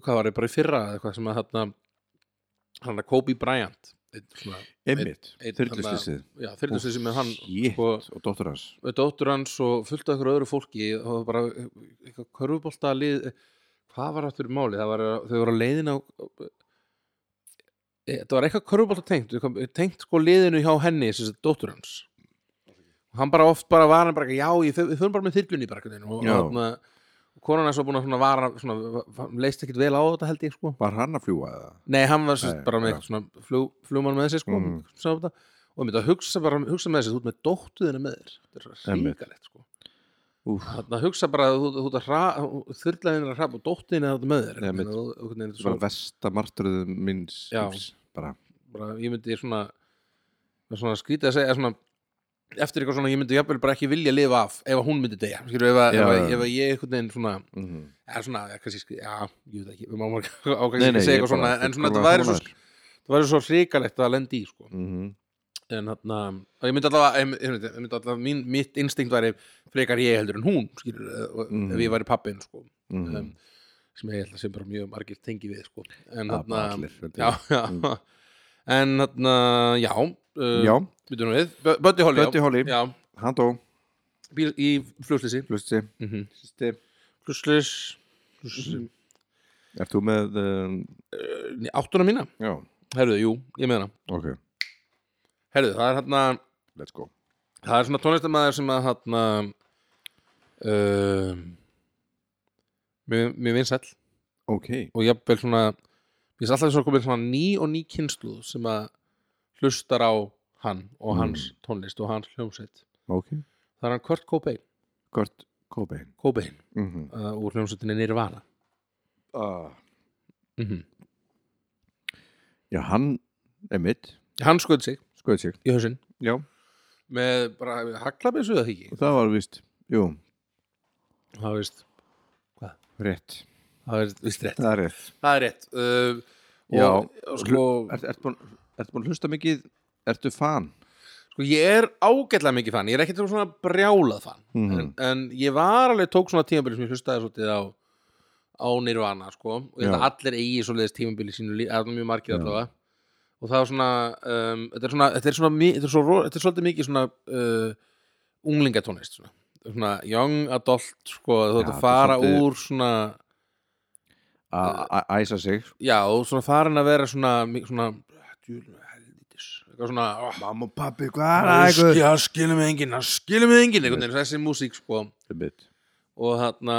hvað var ég bara í fyrra eða eitthvað sem að þarna hann að Kobe Bryant einn svona,
einmitt,
einn-
þurrluslýsið
já, þyrlusið sem er hann
shit,
sko,
og dóttur hans
dóttur hans og fullt af ykkur öðru fólki það var bara e, eitthvað körfubolta lið hvað var aftur í máli það var, þau voru á leiðin á e, það var eitthvað körfubolta tengt eitthvað tengt sko liðinu hjá henni þessi dóttur hans og hann bara oft bara var hann bara já, ég þau þau erum bara með þyrlunni bara einhvern veginn og
Já.
þarna konan er svo búin að svona vara svona, leist ekkit vel á þetta held ég sko
var hann að fljúa eða?
Nei, hann var Nei,
Nei,
bara með
já.
eitthvað svona flug, flugmann með sér sko
Mhm.
sá þetta. og ég myndi að hugsa bara hugsa með sér, þú ert með dóttuðina með þér þetta er svo
Einmitt.
ríkalegt sko
Úf,
þannig að hugsa bara að þú, þú ert að hra þurrlaðin er að hrapp og dóttuðina þetta með þér
Nei,
Þannig
einmitt.
að þú- einhvern veginn
það var
svo-
versta martröðu minns
Já.
lífs, bara
bara, ég myndi svona, svona skrítið að segja svona, eftir eitthvað svona, ég myndi jafnvel bara ekki vilja lifa af ef að hún myndi deyja Skilur, ef, að,
Já,
ef, að,
já, já.
ef að ég einhvern veginn svona
mm -hmm.
eða svona, já, kannski, skri- já, ég veit ekki við máum ekki að segja eitthvað svona en svona, þetta væri svo, þetta væri svo hrikalegt að lendi í sko
mm -hmm.
en þarna, og ég myndi allavega ég myndi, ég myndi- ég myndi allavega, mín, mitt instinkt væri frekar ég heldur en hún skilur, eh,
Mhm.
ef ég væri pappin sko,
Mm
um, sem ég held að sem bara mjög margir tengi við sko. en
Ja, Ah, bara
þarna
allir, held ég.
já, já, en þarna, já uh,
já,
byrjum við, Bu- Buddy Holly, já.
Buddy Holly.
já,
hann dó
bíl, í flugslysi
flusti,
mm -hmm.
flusti
flugslis
er þú með um,
áttuna Mm, mína,
já,
herruðu, jú, ég með hana
ok,
herruðu, það er hérna
let's go
Það er svona tónlistamæður sem að hann uh, mér, mér vinsæll
ok,
og jafnvel svona ég er alltaf svo komið svona ný og ný kynsluð sem að hlustar á hann og hans tónlist og hans hljómsveit
ok
Það er hann Kurt Cobain,
Kurt Cobain
Cobain
mm -hmm.
uh, úr hljómsveitinni Nirvana
Ah.
mm
já, hann er mitt
Hann skoði sig
skoðið sig,
í hausinn
já,
með bara haglabinsu það ekki
það var vist jú,
Það veist
rétt
það er vist rétt
það er rétt
það er rétt uh,
Já.
og, og sko,
Ert, ertu, búin, ertu búin að hlusta mikið ertu fan
sko ég er ágætlega mikið fann ég er ekkert svona brjálað fann
Mhm.
en, en ég var alveg tók svona tímabili sem ég hlustaði svolítið á á Nirvana sko og ég held að
Já.
allir eigi svoleiðis tímabili í sínu líf, eða mjög margir
Já.
allavega og það var svona, um, þetta er svona þetta er svona, mi- þetta er svo, ro- þetta er svolítið mikið svona uh, unglingatónlist svona, svona young adult sko,
Já,
þú ert
þetta er
að fara
svolítið-
úr svona
að að- æsa sig
já, og svona farin að vera svona mi- svona, djúlum helvítis eitthvað svona, oh,
mamma og pappi hvað
Það skilum við enginn, það skilum við enginn einhvern veginn, þessi músík sko
einmitt
og þarna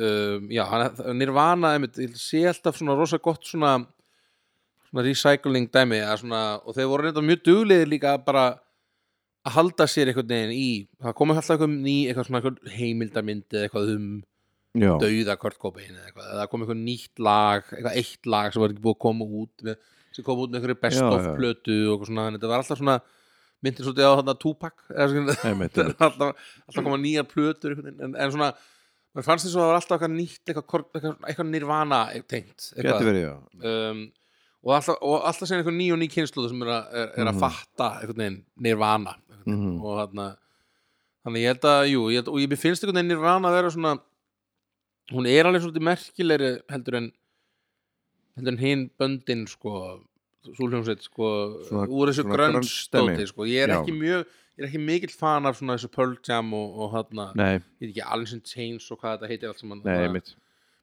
um, já, hann, Nirvana einmitt, ég sé alltaf svona rosa gott svona, svona recycling dæmi að svona, og þeir voru reynda mjög duglegir líka að bara að halda sér einhvern veginn í það komið alltaf eitthvað ný, eitthvað svona eitthvað heimildamynd eða eitthvað um
já
dauða Kurt Cobain eða eitthvað, eða það kom eitthvað nýtt lag eitthvað eitt lag sem var ekki búið að koma út með, sem kom út með einhverju best
Já,
of
já.
plötu og eitthvað svona, en þetta var alltaf svona myndir svolítið á þarna Tupac eða svona,
einmitt
þetta er alltaf, alltaf koma nýjar plötur einhvern veginn, en, en svona mér fannst þess að það var alltaf eitthvað nýtt eitthvað, kor- eitthvað, eitthvað nirvana tengt
getur verið já
um, og alltaf, og alltaf segja einhver ný og ný kynslu sem er að, er, er að
Mhm.
fatta einhvern veginn nirvana einhvern veginn.
Mhm.
og þarna þannig ég held að, jú, ég held, og ég mér finnst einhvern veginn nirvana að vera svona hún er alveg svolítið merkilegri heldur en heldur en hinn böndin sko súljónsveit sko
Svona-
úr þessu
svona grunge-dæmi.
grönstóti sko ég er
Já.
ekki mjög ég er ekki mikill fan af svona þessu Pearl Jam og, og þarna,
nei
ég veit ekki alls in Chains og hvað þetta heitir allt saman
nei
Þarna-
einmitt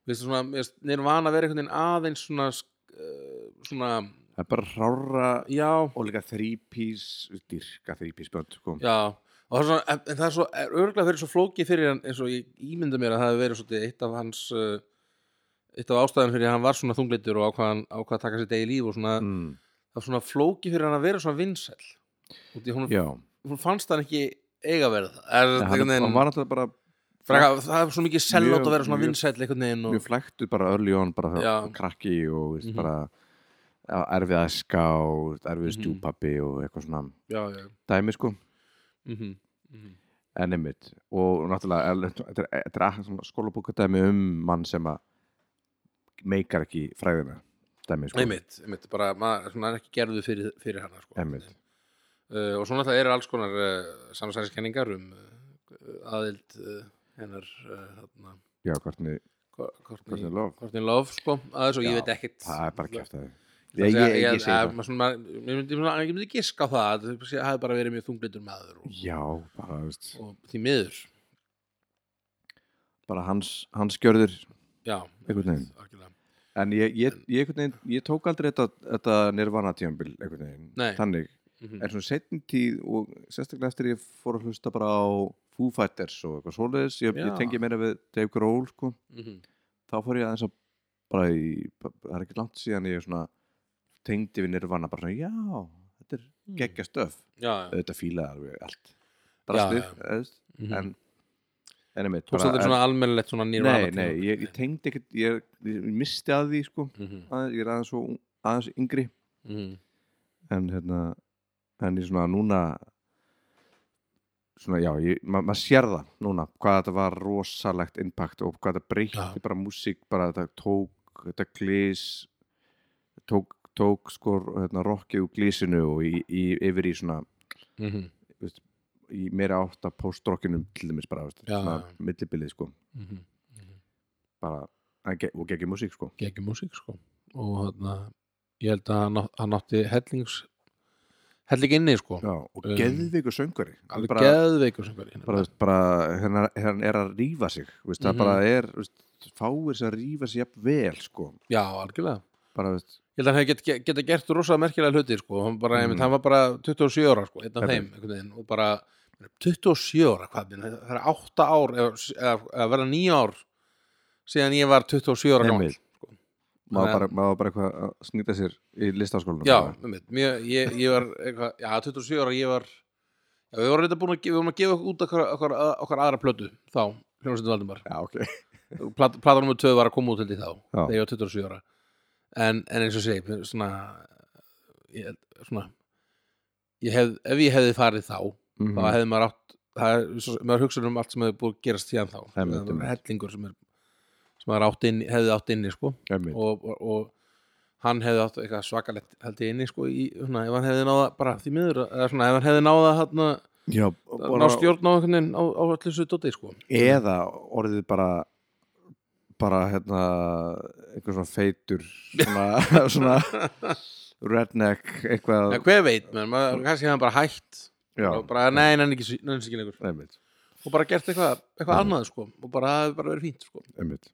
Mér finnst svona, mér finnst Nirvana vera einhvern veginn aðeins svona uh, svona,
það er bara hrára
já,
og líka þrípís dyrka þrípís bönd sko
já og það er svona, en, en það er svo, er örgulega verið svo flókið fyrir hann eins og ég ímynda mér að það hefur verið svolítið eitt af hans uh, eitt af ástæðan fyrir að hann var svona þungleitur og ákvað, hann, ákvað að taka sér degi líf og svona,
mm,
það var svona flókið fyrir hann að vera svona vinsæl og því hún,
já
hún fannst hann ekki eiga að vera það er,
Nei,
einhvern
hann, hann
veginn,
var alltaf bara
freka, það er svo mikið sellátt
Mjög-
að vera svona
mjög-
vinsæl einhvern veginn
mjög
og,
flæktu bara early on bara
Já.
þegar krakki og veist,
Mhm.
bara já, erfið að ská erfið
Mhm.
stjúpappi og eitthvað svona
já, já,
dæmi sko
mm -hmm, mm -hmm.
en einmitt og náttúrulega er- þetta er, þetta er svona skólabókadæmi um mann sem að meikar ekki fræðina dæmi sko
einmitt, einmitt, bara maður svona, er ekki gerðu fyrir, fyrir hana sko.
Einmitt.
uh, og svona það eru alls konar uh, samsæðiskenningar um uh, aðild uh, hennar uh, þarna,
já, hvernig, hvernig
Courtney-
lof
Courtney Love sko, aðeins og
Já,
ég veit ekkit
það er bara kæft að ég,
Ég,
ég, ég,
ég,
ég segi það
maður svona- maður- ég myndi- svona- ég myndi giska á það að það hefði bara verið mjög þunglitur maður og,
já, bara, veist,
og því miður
bara hans, hans gjörður
já,
Einhvern veginn.
algjörlega.
en ég, ég, ég, einhvern veginn, ég tók aldrei þetta, þetta nirvana tíambil einhvern veginn
Nei.
þannig
Mhm.
er svona setjum tíð og sérstaklega eftir ég fór að hlusta bara á Foo Fighters og eitthvað svoleiðis ég,
Já.
ég tengi meira við Dave Grohl sko.
Mhm.
þá fór ég aðeins að bara í, bara- það er ekki langt síðan ég svona tengdi við Nirvana bara svona, já, þetta er geggja stöf
já, já
auðvitað fílaði alveg allt drastið,
Já,
ja,
Mhm.
en en einmitt,
tókst þetta svona almennilegt svona nýra
nei, nei, ég, ég tengdi ekkert ég, ég misti að því, sko aðeins, ég er aðeins svo, aðeins yngri
Mhm,
en hérna en ég svona núna svona já, ég- ma- maður sér það núna hvað þetta var rosalegt impact og hvað þetta breytti
Já.
bara músík bara þetta tók, þetta glís tók, tók sko hérna, rockið úr glísinu og í, í, yfir í svona
mhm,
í meira átta post-rockinum til dæmis bara, veist,
Já,
svona
já.
millibilið sko
mhm.
bara, en ge- og geggjum músík sko
geggjum músík sko og þarna, ég held að hann, á- hann átti hellings helling inni sko
já, og
Um,
um, geðviku söngari
alveg
bara,
geðveikur sem hverju
bara, veist, bara hérna, hérna er að rífa sig veist, það
Mhm.
bara er veist, fáir sem rífa sig jafn vel sko
já, algjörlega
bara, veist,
ég held að hann hefði get, get, geta gert rosa merkilega hluti sko hann, bara, einmitt, hann var bara 27 ára sko einn
Mm.
af
Þetta-
þeim einhvern veginn og bara 27 ára hvað minn, það er 8 ár eða, eða, eða verða 9 ár síðan ég var 27 ára gamall
Einmitt. maður
Nei.
bara, maður bara eitthvað að snýta sér í listaskólanum
já,
bara.
einmitt, mér, ég, ég var eitthvað, já, 27 ára ég var já, við vorum reynda búin að, ge- við vorum að gefa út okkar, okkar, okkar aðra plötu þá, hljómsveitin Valdimar
já, ok
Plat, platan nummer 2 var að koma út held ég þá
Já.
þegar ég var 27 ára en, en eins og segi, mér- svona ég, held- svona ég hef, ef ég hefði farið þá
mm
þá hefði maður átt það, er- svo- maður hugsaður um allt sem hefði búið að gerast síðan þá
Einmitt,
Það er
einmitt.
hellingur sem er maður átt inn, hefði átt inni sko
Einmitt.
og, og, og hann hefði átt eitthvað svakalegt held ég inni sko í, svona, ef hann hefði náða bara því miður eða svona ef hann hefði náða hérna
Já,
ná stjórn á einhvern veginn á, á allir svo dótið sko
eða orðið bara bara hérna einhver svona feitur svona, svona redneck eitthvað
en hver veit menn, maður, kannski hefði hann bara hætt
já,
og bara nei, nenni ekki, sí- nenni þessu ekki lengur
einmitt,
og bara gert eitthvað,
Mm.
eitthvað annað sko og bara, það hefði bara verið fínt sko
einmitt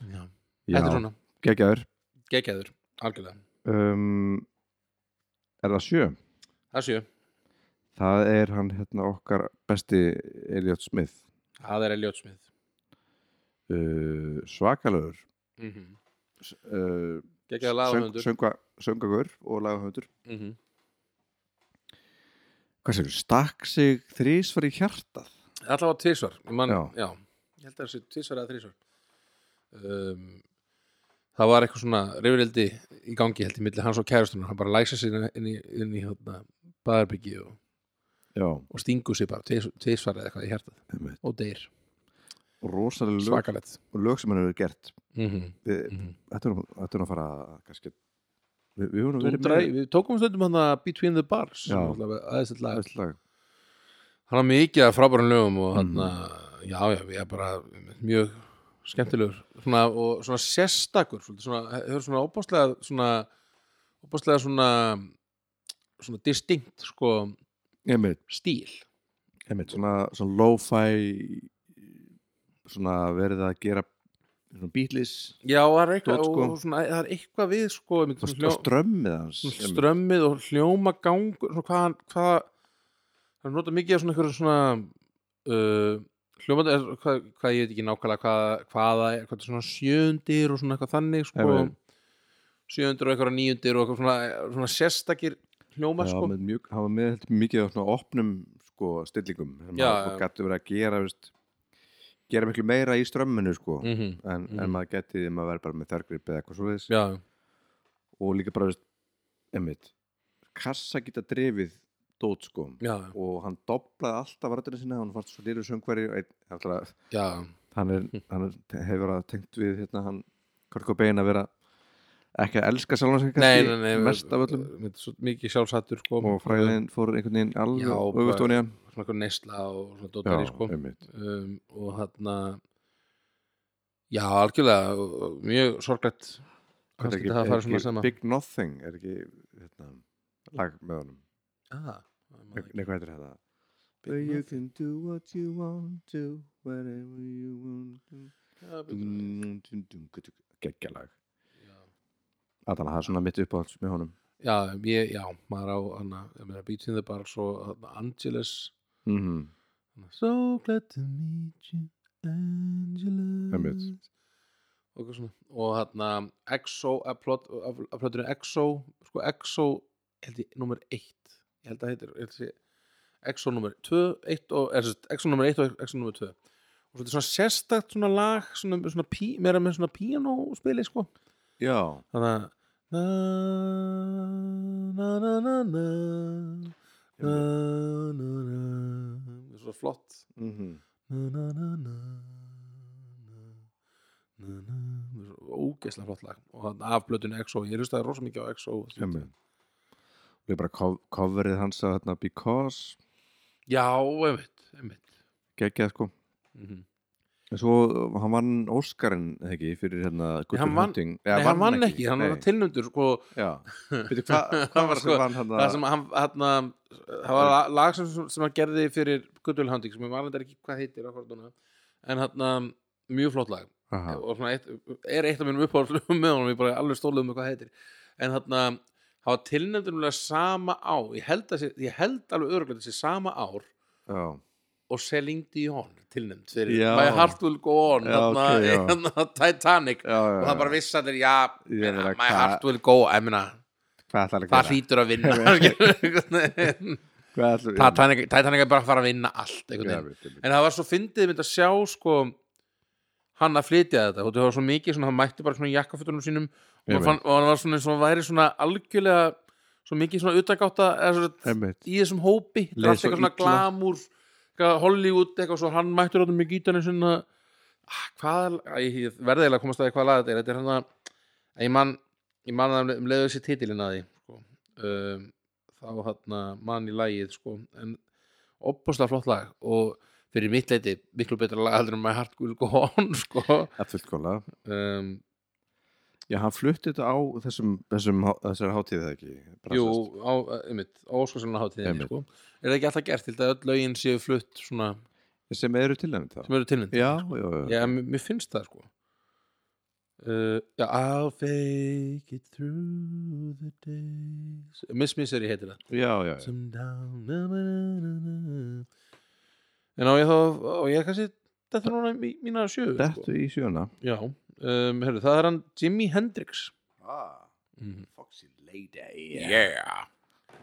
já.
já,
þetta er svona,
geggjaður
geggjaður, algjörlega
um, er það sjö?
það séu,
það er hann hérna okkar besti Elliot Smith
það er Elliot Smith
uh, svakalögur
mm -hmm.
uh,
geggjaður lagaföndur
söng, söngagur og lagahöndur
mm -hmm.
hvað segir, stakk sig þrísvar í hjartað
allavega tvisvar ég man,
Já.
já. ég held að það sé tvisvar eða þrísvar um, það var eitthvað svona reyfrildi í gangi held í milli hans og kærastunar, hann bara læsa sér inn í, inn í hérna, baðarbyggi og,
já,
og stingu sér bara tvis- tvisvar eða eitthvað í hjartað
einmitt
og deyr,
rosalega lög,
svakalett
lög sem hann hefur gert
mm
við, þetta er nú- þetta er nú að fara kannski við, við höfum nú verið
Dúndra, við tókum stundum hann að Between the Bars sem
Já.
er allavega aðeins lag
þessu lag
hann er mikið að frábærum lögum og hann já, já, ég er bara mjög skemmtilegur svona, og svona sérstakur svolítið svona, hefur svona óbáslega svona, óbáslega svona svona distinct sko,
einmitt,
stíl
einmitt, svona, svona lo-fi svona verið að gera svona beatlis
já, það er eitthvað,
Dót, sko.
og, svona, það er eitthvað við sko, einmitt,
og st-
svona,
og
hljó,
strömmið hans
svona
einmitt.
strömmið og hljóma gangur svona hvað hann- hvað hann nota mikið af svona einhverju svona uh, hljóma hvað, hvað ég veit ekki nákvæmlega hvað, hvaða er, hvað er svona sjöndir og svona eitthvað þannig sko,
Einmitt.
sjöndir og eitthvað nýjundir og eitthvað svona, svona sérstakir hljóma
Já,
sko.
með mjög, hann var með heldur mikið af svona opnum sko, stillingum þannig
Já,
að maður
já.
gæti verið að gera veist, gera miklu meira í strömminu sko.
mm -hmm.
en, en
mhm.
maður gæti því maður verið bara með þörgrip eða eitthvað svoleiðis
já,
og líka bara veist, einmitt, kassa geta drifið dót sko
já,
og hann doblaði alltaf vartina sína hann fannst svo lýru söngveri og einn, alltaf,
já
hann, er, hann er, hefur að tengt við hérna hann Kurt Cobain að vera ekki að elska sjálfan sig
nei,
kannski
nei, nei,
mest af öllum
með svo mikið sjálfsættur sko,
og fræðin fór einhvern veginn alveg
Já,
öfugt
bara-
ofan í hann.
svona eitthvað neysla og svona
Já,
dóttari sko.
einmitt
um, og þarna já, algjörlega og- og mjög sorglegt
Hvað er
kannski
ekki,
þetta hafi farið
er
svona
ekki
sama
Big Nothing er ekki hérna, lag með honum
ah,
Nei, hvað heitir þetta? But you can do what you want to whenever you want to Gekkja lag Þannig að það er svona mitt uppáhalds með honum
já, ég, já, maður á hana, ég meina, Beat in the Bar svo hana, Angeles
Mhm.
So glad to meet you Angeles
Einmitt.
og eitthvað svona og þarna EXO af plot- af- af plötunni EXO sko EXO held ég nummer 1 ég held að heitir ég held að sé EXO nummer 2 1 og er sérst EXO nummer 1 og EXO nummer 2 og svolítið svona sérstakt svona lag svona, svona pí, meira með svona piano spili sko
Já
þannig að na na na na na na na na það er svo flott
Mhm.
na na na na na na na ógeðslega flott lag og hann af blötunni EXO ég hlustaði rosa mikið á EXO
Einmitt. Og ég bara co- coverið hans að hérna Because
já, einmitt, einmitt.
Gekkja sko
Mm
En svo hann vann Óskarinn eða ekki fyrir hérna Good
hann
Will
vann-
Hunting
nei, hann vann ekki, hann var
nei.
tilnöndur sko,
Já, veitu hvað hva var
sko,
sem vann hann
það sem hann, hann, það var la- lag sem, sem hann gerði fyrir Good Will Hunting sem ég varlega ekki hvað heitir akkúrat núna. en hann, mjög flott lag
að
og svona eitt, er eitt af mínum uppáhaldum með honum, ég bara alveg stólið um hvað það heitir en þarna, það var tilnefndunulega sama á, ég held, að, sé- ég held alveg öruglega þessi sama ár
Já,
og Celine Dion tilnefnd fyrir
Já.
My Heart Will Go On
Já,
þarna,
ok, já.
þarna, Titanic
já, já,
og það bara vissi allir, já,
Ég meina,
My
hvað-
Heart Will Go On, ég meina,
Hvað ætlar að
það
gera?
hlýtur að vinna
Hvað ætlar
Titanic, Titanic er bara að fara að vinna allt einhvern veginn
gera?
en það var svo fyndið mynd að sjá sko hann að flytja þetta og það var svo mikið svona, hann mætti bara svona í jakkafutunum sínum og,
Ég
hann fann, og hann var svona eins og hann væri svona algjörlega svo mikið svona utagáta eða svona,
Einmitt.
í þessum hópi það
Leið
er allt
svo
eitthvað svona
illa.
glamúr eitthvað Hollywood eitthvað svo hann mættur áttum með gítarni svona ah, hvað, æ, ég verði eiginlega að komast að því hvað lag þetta er, þetta er hann að ég man, ég man að um leiðu sér titilin að því sko. um, þá hann að mann í lagið sko. en opposlega flott lag og fyrir mitt leiti miklu betra lag heldur en maður hart gul gón sko.
að fullkóla
um,
Já, hann flutti þetta á þessum, þessum þessari hátíð eða ekki
jú,
Brassast.
á, einmitt, á óskarsalna hátíðinni
Einmitt.
sko. er það ekki alltaf gert til þetta að öll lögin séu flutt svona,
sem eru til henni þá
sem eru tilmynd
Já, já, já,
Já, mér, mér finnst það sko uh, já, I'll fake it through the days Miss Misery heitir það
já, já, já.
Some down na, na, na, na, na. En á ég þá á ég kannski þetta núna í mína sjö sko.
Dettu í sjöna
Já, um, heyrðu, það er hann Jimi Hendrix
ah,
mm.
Foxy Lady
Yeah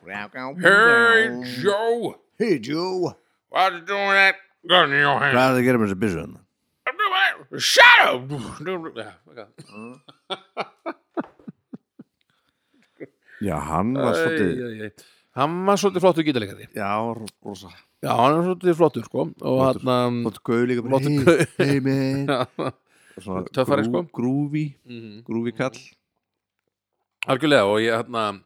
Hey
Joe
Joe
What are you doing that gun in your
Hvað er það að gera með hérna? þessu byssun?
Shut up Já, ok
Já, hann var svolítið
Æ, æ, æ. Hann var svolítið flottur gítalegari
Já, rosa
Já, hann var svolítið flottur sko og
Flottur.
hann
Lóttu gauð líka bara,
Láttu
hey,
gaur.
Hey man Svona
Töffari, sko.
Grúfi
Mhm.
Grúfi kall
algjörlega og ég hann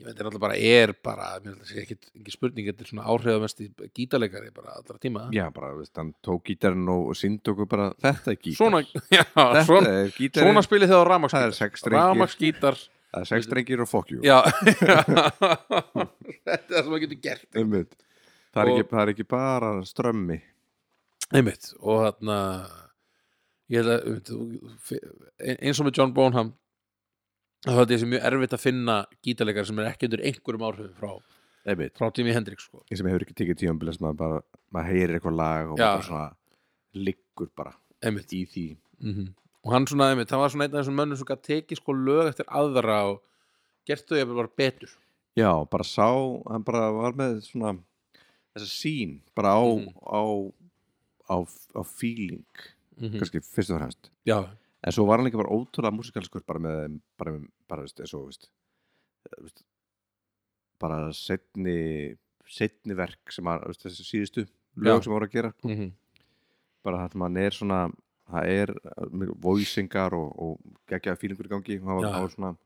ég veit er alltaf bara er bara mér held að segja ekkit ekki spurning þetta er svona áhrifamesti gítalegari bara allra tíma
Já, bara, veist, hann tók gítarinn og syndi okkur bara Þetta er gítar
Svona, já,
Þetta
svona,
er gítarinn
svona spilið
Það
þegar
er
rafmaksgítar
sex drengir
Rafmaksgítar
Það er sex drengir og fokkjú
Já Þetta er það sem maður getur gert
Einmitt. Það er,
Og-
ekki, það er ekki bara strömmi
einmitt og þarna ég held að einmitt, þú- fe- eins og með John Bonham þá held ég þessi mjög erfitt að finna gítarleikar sem er ekki undir einhverjum áhrifum frá,
Einmitt.
frá Jimi Hendrix sko.
Ég sem hefur ekki tekið tíumbili sem maður bara maður heyrir eitthvað lag og
Já.
bara svona liggur bara
einmitt
í því
-hmm. og hann svona einmitt, hann var svona einn af þessum mönnum sem gæti tekið sko lög eftir aðra og gert þau jafnvel bara betur
Já, bara sá, hann bara var með svona þessa sín bara á
Mhm.
á, á, á feeling kannski fyrst og fremst
já,
en svo var hann líka bara ótrúlega músikalskur bara með, bara, með, bara veist, eins og veist, eh, veist, bara setni setni verk sem að veist, þessi síðustu lög
Já.
sem voru að gera
mm -hmm.
bara þetta mann er svona það er eh, mjög voisingar og, og geggjaði fílingur í gangi og hann var,
Já.
hann var svona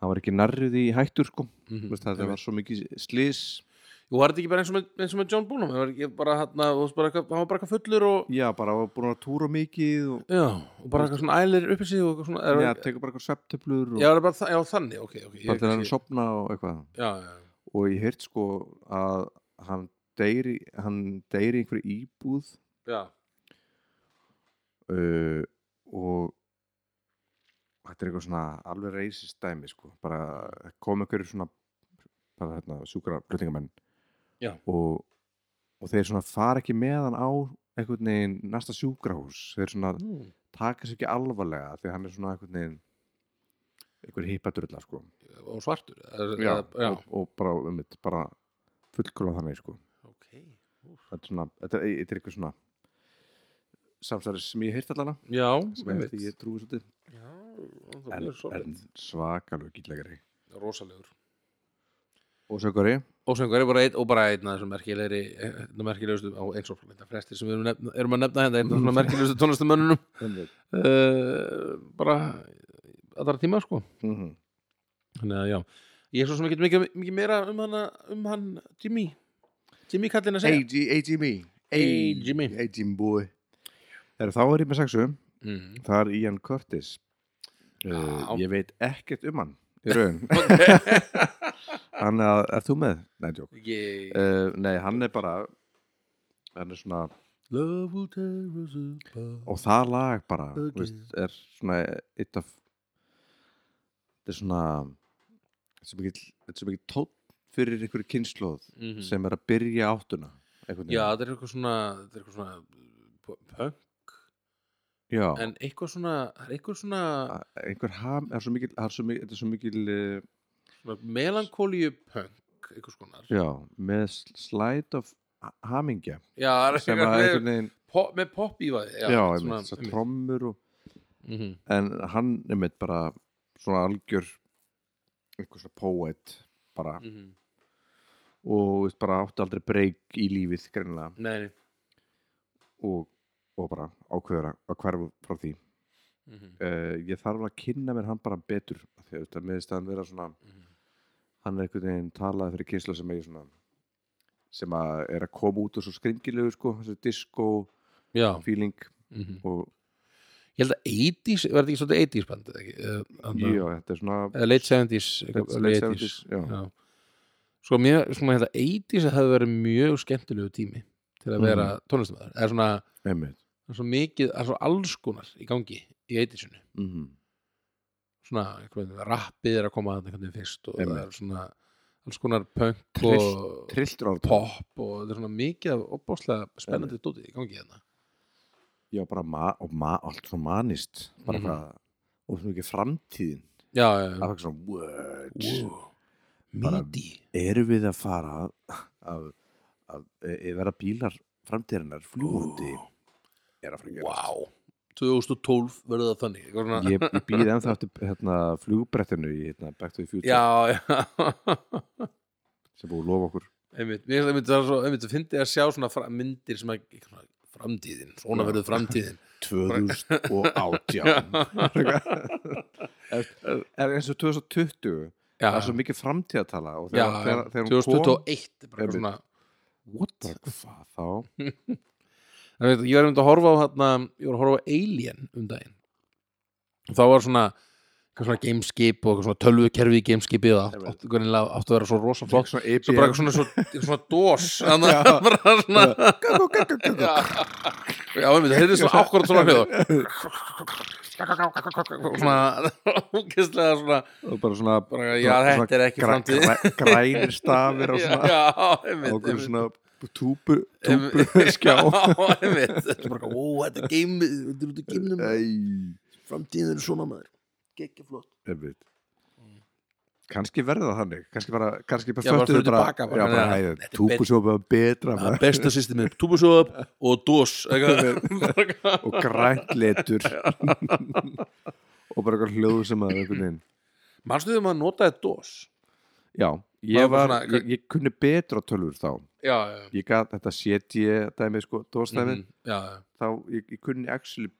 hann var ekki nærrið í hættur sko
Mm
Vist, það var svo mikið slis
Jú, var þetta ekki bara eins og með, eins og með John Bonham hann var, ekki bara, hann, bara, eitthvað- hann var bara eitthvað fullur og,
já, bara var búin að túra mikið og
já, og bara eitthvað svona ælir uppi sig og eitthvað svona er,
já, tekur bara eitthvað svefntöflur og
Já, það er bara það, já, þannig, ok, ok
bara til hann að sopna og eitthvað
Já, já,
og ég heyrt sko að hann deyri hann deyri einhverju íbúð
já
uh, og þetta er eitthvað svona alveg reisist dæmi sko, bara kom einhverjur svona bara hérna sjúkra fluttingamenn
Já.
og, og þeir svona fara ekki með hann á einhvern veginn næsta sjúkrahús þeir svona
mm.
taka sér ekki alvarlega því að hann er svona einhvern veginn einhver hippadurla sko
Og svartur er, er, já.
Og, og bara um þetta bara fullkóla þannig sko
ok
þetta er svona, þetta er, þetta er eitthvað svona samsæri sem ég heirt allana
Já,
sem ég,
einmitt.
því ég trúi svolítið
Já, það
en,
er svolítið
en svakalug gítlegari
Rósalegur
og sökari
Og sem hverju bara einn, og bara einn af þessum merkilegri eh, einn af merkilegustu, á eins og þetta flestir sem við erum, nefna, erum að nefna hérna einn af svona merkilegustu tónlistamönnunum uh, bara allra tíma, sko
Mhm.
Þannig að já, ég er svo sem ekki mikið, mikið meira um hann, um hann Jimmy Jimmy kallinn að segja
AGMI
Hey, Jimmy.
AGM boy Þegar þá er ég með sexu
mm.
það er Ian Curtis uh,
Já.
ég veit ekkert um hann í raun hann að, er þú með? Nei, tjók
Ég
uh, Nei, hann er bara hann er svona
Love will tear us apart
og það lag bara
Again.
okay. veist, er svona eitt af þetta er svona þetta er svo mikill- þetta er svo mikið tótt fyrir einhverju kynnslóð
Mhm.
sem er að byrja áttuna einhvern veginn.
Já, þetta er eitthvað svona þetta er eitthvað svona p- punk
Já.
en eitthvað svona, það er eitthvað svona,
Að- einhver ham það er svo mikil, það er svo mikil, þetta er svo mikil eh,
svona melankólíu punk eitthvað svona
já, með sl- slide of ha- hamingja
Já, það er
sem að
eitthvað
einhvern
með,
veginn
pop, með pop í vaði
já, einmitt, svo trommur og,
mhm,
en hann einmitt bara svona algjör einhver svona poet bara
mhm.
og veist, bara átti aldrei breyk í lífið greinilega
Nei, nei,
og, og bara ákveður að- að hverfa frá því
mhm.
uh, ég þarf að kynna mér hann bara betur af því að þetta meðist að hann vera svona hann er einhvern veginn talaði fyrir kynsla sem er svona sem að er að koma út og svo skringilegu sko, þessu disco
Já,
feeling
mhm.
og
ég held að 80s, verður þetta ekki svolítið 80s band eða ekki? Eða- þarna-
já, þetta er svona
eða late 70s
Late-
eitthvað,
late
80s,
70s, já.
Sko mér, svona hérna 80s hefði verið mjög skemmtilegu tími til að
Mhm.
vera mm. tónlistamæður eða svona,
einmitt
það er svo mikið, það er svo alls konar í gangi í 80sinu
mm
svona, einhvern veginn, rappið er að koma að einhvern veginn fyrst og það
Einmitt.
er svona alls konar punk
Trillt-
og
trilltur ára
pop og það er svona mikið af opbáslega spennandi dótið í gangi hérna
já, bara ma og ma allt svona manist bara
Mhm.
mm og svona ekki framtíðin
Já, já,
það
já
var ekki svona what
Wow.
Bara-
Midi
erum við að fara að, að, að, að vera bílar framtíðarinnar fljúandi er að fara að gerast.
Wow 2012 verður það þannig eitthvað svona-
ég, ég býð ennþá eftir hérna, flugbrettinu í hérna, Back to the Future
Já, já
sem búið að lofa okkur
einmitt, mér finnst einmitt það svo, einmitt það fyndi að sjá svona fra, myndir sem að eitthvað svona, framtíðin, svona
Já.
verður framtíðin
2018 er, er eins og 2020
já,
það er svo mikið framtíðatala og
já,
þegar, þegar, þegar hún kom
2021 bara eitthvað
Einmitt.
svona, what?
bara, hvað þá?
Það veit, ég var einmitt að horfa á hérna, ég var að horfa á Alien um daginn og þá var svona eitthvað svona gameskip og eitthvað svona tölvukerfi í gameskipi og átt,
Einmitt.
átt, átt, átt að vera svo rosa flott
svona
svo bara
IBM
eitthvað svona, svona, svona dós þannig að bara svona já, já, einmitt, það heyrði svona ákvörð svona hljóð svona ógeðslega svona
og bara svona,
bara, já, þetta er ekki framtíð já,
græ, grænir stafir og svona
já,
og
einmitt
okkur
einmitt.
svona túpu,
Einmitt.
túpu skjá
já, einmitt þetta er bara, ó, þetta er geim þetta er út í geimnum
Æ.
framtíðin er svona maður gekkja flott
Einmitt. kannski verða það þannig kannski bara, kannski bara
Já, bara
föttuðu
förum tilbaka bara.
já, bara,
Nei,
hæ,
þetta er
túpu svo bara betra
Það er
maður.
besta systemi, túbusjóðab og dós eitthvað.
og grænt letur og bara eitthvað hljóð sem að einhvern veginn
manstu þegar maður notaði dós
já, ég
Maður bara
var,
svona-
ég, ég kunni betra tölvur þá,
já, já,
ég gat þetta setji dæmi sko, dóstæmi
Mhm, já, já
þá, ég, ég kunni actually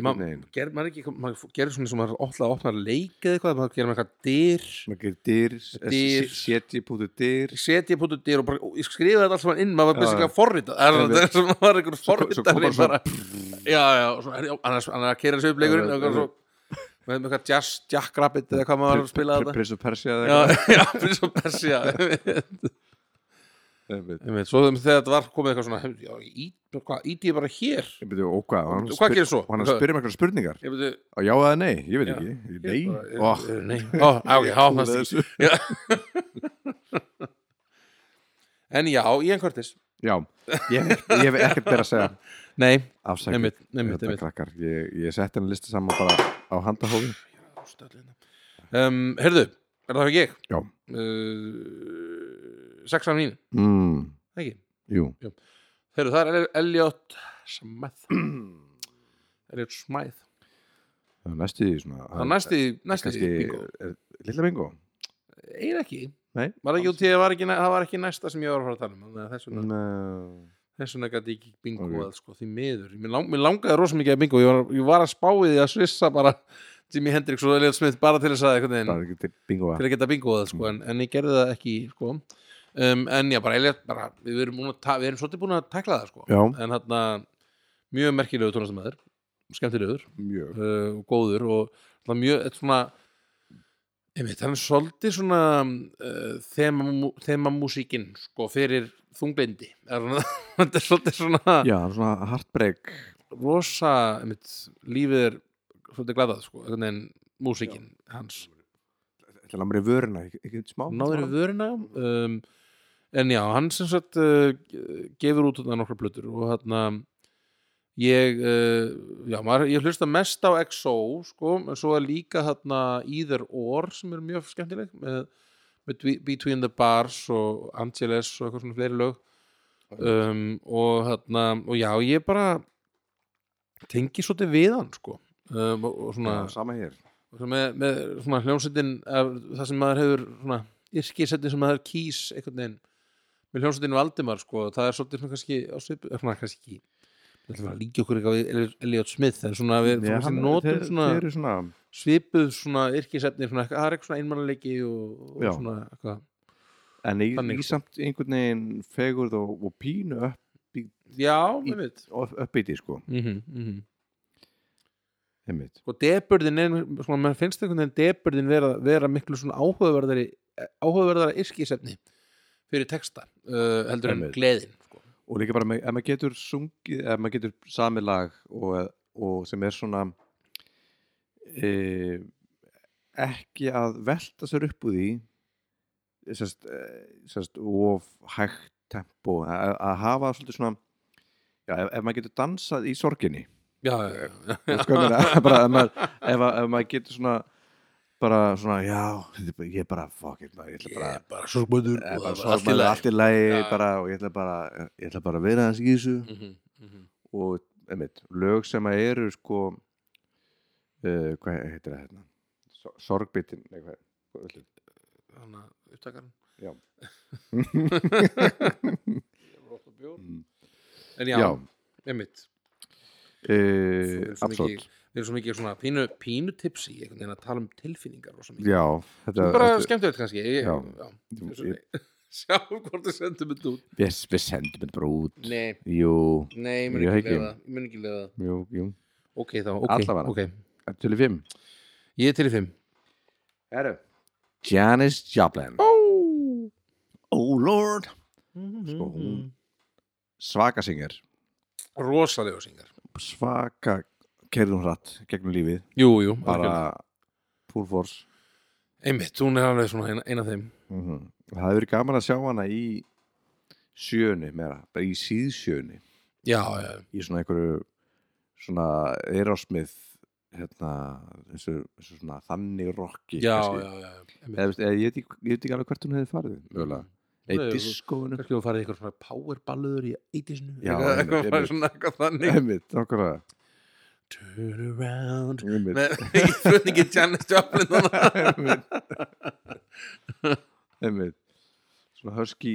Ma-
einhvern veginn,
ger, maður ekki, maður gerir svona sem maður óttlega opnar leik eða eitthvað, maður gerir maður eitthvað dyr
maður gerir dyr
Dyr.
setji pútu dyr
setja pútu dyr og bara, og ég skrifa þetta alls inn, maður
Já,
var basically að forrita það er-
Einmitt.
það er sem maður var einhver
Svo- svo kom
forritari
bara svona-
bara, já, já, og svona, já, annars, annars að kera þessu uppleikurinn
Einmitt,
og eitthvað svo með með eitthvað jazz, Jack Rabbit eða hvað maður var að spila þetta
prins og persja
já, já, fyrir svo persia einmitt, svo þegar þetta var komið eitthvað svona heyrðu, já, í, hvað, íti ég bara hér
og hvað, og hann
Og hvað
spyr-
gerir svo?
og hann spyrir mig eitthvað spurningar
ég veit,
Á já eða nei, ég veit
Já.
ekki Ég-
Ég
Nei,
bara-
oh,
eh, Nei, ó, á, ok, há, fannst
þessu.
ekki Já. En já, Ian Curtis
já Ég hef- ég hef ekkert verið að segja
Nei,
Afsækjum,
einmitt, einmitt,
þetta
einmitt
krakkar Ég, ég setti henni listi saman bara á handahófi
um, Herðu, er það ekki ég?
Já.
uh, Sex af mín,
mm,
ekki
Jú,
Herðu, það er El- Elliot Smith Elliot Smith
það er næstu því svona
Það næsti, næsti
kannski
bingo.
er- Lilla bingo
Eiginlega ekki
Nei,
Var ekki út í að það var ekki, næ- það var ekki næsta sem ég var að fara að tala um þannig að Þess vegna
Nei.
þess vegna gæti ég ekki bingo
Ok.
að sko, því miður, mér, lang, mér langaði rosa mikið að bingo ég var, ég var að spáði því að svissa bara Jimi Hendrix og Elliot Smith bara til þess að einhvern
Það
veginn,
er ekki til bingo að
til að geta bingo að sko, en,
Mm.
en ég gerði það ekki sko. um, en já, bara Elliot, bara, við, erum búin að ta- við erum svolítið búin að tekla það sko.
Já,
en hann mjög merkilegu tónastamæður skemmtilegur,
mjög
uh, og góður og það mjög, þetta svona einmitt, hann er svolítið svona uh, þema, þema músíkin sko, fyrir þunglindi Er hann- þetta er svolítið svona
Já, það er svona heartbreak
rosa einmitt, lífið er svolítið glatað sko, einhvern veginn músíkin hans
Þetta er mér í vörina, ekki- ekki smá
náður í vörina um, en já, hann sem sagt uh, gefur út þarna nokkra plötur og þarna ég, uh, já, maður, ég hlusta mest á XO sko, en svo er líka þarna Either Or sem er mjög skemmtileg með, með Dwe- Between the Bars og Angeles og eitthvað svona fleiri lög um, og þarna, og já, ég bara tengi svolítið við hann sko um, og, og svona
Já, Sama hér
Og svo með, með svona hljómsveitin af, það sem maður hefur svona yrkisettin sem maður kýs einhvern veginn með hljómsveitinu Valdimar sko, það er svolítið svona kannski á svip, eh, svona kannski ekki Þetta er bara að líka okkur eitthvað við Eli- Elliot Smith en svona við
Nei,
ja,
hann-
notum
þeir-
svona
þeir eru svona
svipuð svona yrkisefni svona, eitthvað- það er eitthvað svona einmannleiki og, og
Já.
svona eitthvað
en í,
Þannig,
í
sko.
samt einhvern veginn fegurð og, og pínu upp,
Já,
Í-
með mitt
upp, uppbytti sko
mhm, mhm
einmitt.
sko deburðin er svona, mann finnst einhvern veginn deburðin vera, vera miklu svona áhugaverðari áhugaverðara yrkisefni fyrir texta uh, heldur en
Einmitt.
gleðin sko.
og líka bara með- ef maður getur sungið ef maður getur sami lag og, og sem er svona e, ekki að velta sér upp úr því sérst, eh, sérst of hægt tempo að, að hafa svolítið svona já, ef, ef maður getur dansað í sorginni
já, já, já,
Þú veist hvað ég meina? bara, ef, maður, ef, að- ef maður getur svona bara svona, já þetta er bara- ég er bara, fuck it, maður, ég ætla bara
ég er bara sorgmöður
ég er
og
bara
það var allt í
sorgmæður,
lagi
allt í lagi
Já, já.
bara, og ég ætla bara ég ætla bara að vera hans í þessu
Mhm, mhm.
og, einmitt, lög sem að eru sko uh, hvað heitir það hérna So- sorgbitin, nei hvað hvað viltu?
þannig að upptakarinn
Já.
Ég var oft að bjór.
Mm.
en já,
já,
einmitt
eh,
Svo er svo
absolutt
mikið- við erum svo mikið svona pínu, pínu tipsi einhvern veginn að tala um tilfinningar og svo mikið
já, þetta
bara
þetta-
skemmtilegt kannski ég,
Já.
já.
ég-
sjá hvort þið sendum þetta út
við við sendum þetta bara út
nei,
jú,
nei, ég mun
Ég
ekki
ekki.
leiða það. ég mun ekki leiða það.
jú, jú
ok þá, ok,
Allavega.
ok
til í fimm
ég er til í fimm
Heru. Janis Joplin
oh,
oh lord Sko, hún- svaka syngir
rosalegu syngar
svaka kerðum hratt gegnum lífið
jú, jú, algjörlega.
bara full force
einmitt, hún er alveg svona eina, eina af þeim
mm það hefur verið gaman að sjá hana í sjöunni meira, bara í síðsjöunni
já, já, já.
í svona einhverju svona Erosmith hérna, þessu, þessu svona þannig rocki
já,
kannski.
já, já, já.
Eða, veist, eða, ég, veit ekki- ég veit ekki alveg hvert hún hefði farið mögulega,
Nei,
eða
þú-
diskóinu
kannski þú farið í eitthvað svona powerballuður í eitisnu
Já, einmitt,
eitthvað, eitthvað,
einmitt.
eitthvað, svona eitthvað þannig
einmitt, okkur
turn around
einmitt
með ekki flutningi Janis Joplin þarna.
einmitt svona husky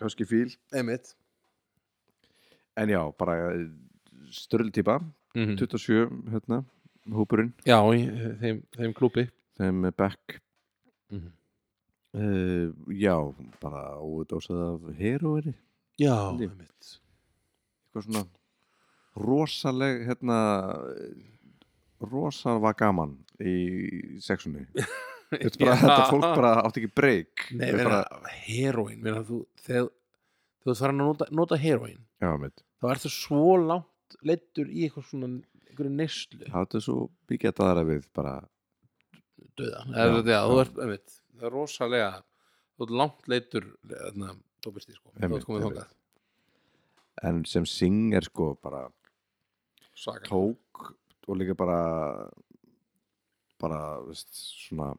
husky fíl
einmitt
en já, bara störl típa,
Mhm. Mm.
27 hérna, hópurinn,
já, í eh, þeim, þeim klúpi
þeim er back
Mhm.
uh, já, bara ódósað af heroinni
já,
Líf.
einmitt
eitthvað svona rosaleg hérna rosalva gaman í sexunni Þetta, bara,
Já.
þetta fólk bara átti ekki break
Nei,
Þetta
meina,
bara,
heroin meina, þú, þegar, þegar þú þarf að nota, nota heroin
já, mitt,
þá ertu svo langt leittur í eitthvað svona einhverju neyslu
það er svo mikið að aðra við bara,
döða
Já,
já, já, þú
já.
ert, einmitt, það er rosalega þú ert langt leittur þarna, þú byrst því sko, þú
Einmitt,
ert komið
einmitt.
þangað
en sem singer sko bara
Saga.
tók og líka bara bara, veist, svona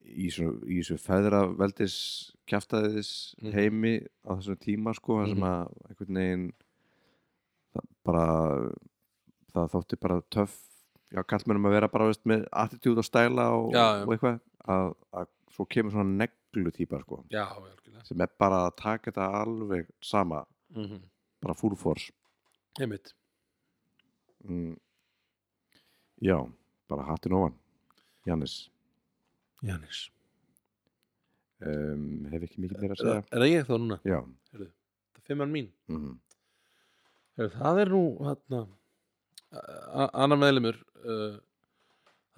í svo- í þessu feðra veldis kjaftaðis
Mhm.
heimi á þessum tíma sko, þar sem
Mhm.
að einhvern veginn það bara það þótti bara töff já, kallmennum að vera bara, veist, með attitúd og stæla og,
Já, já.
og eitthvað að, að svo kemur svona neglu típa sko,
já, algjörlega
sem er bara að taka þetta alveg sama,
mm
bara full force
einmitt,
mm. Já, bara hattin ofan Jannis
Janis
um, Hef ekki mikið meira að
er, það-
segja
er það ég þá núna,
Já,
það er fimmann mín
mm.
Heru, það er nú þarna a- a- annar meðlumur uh,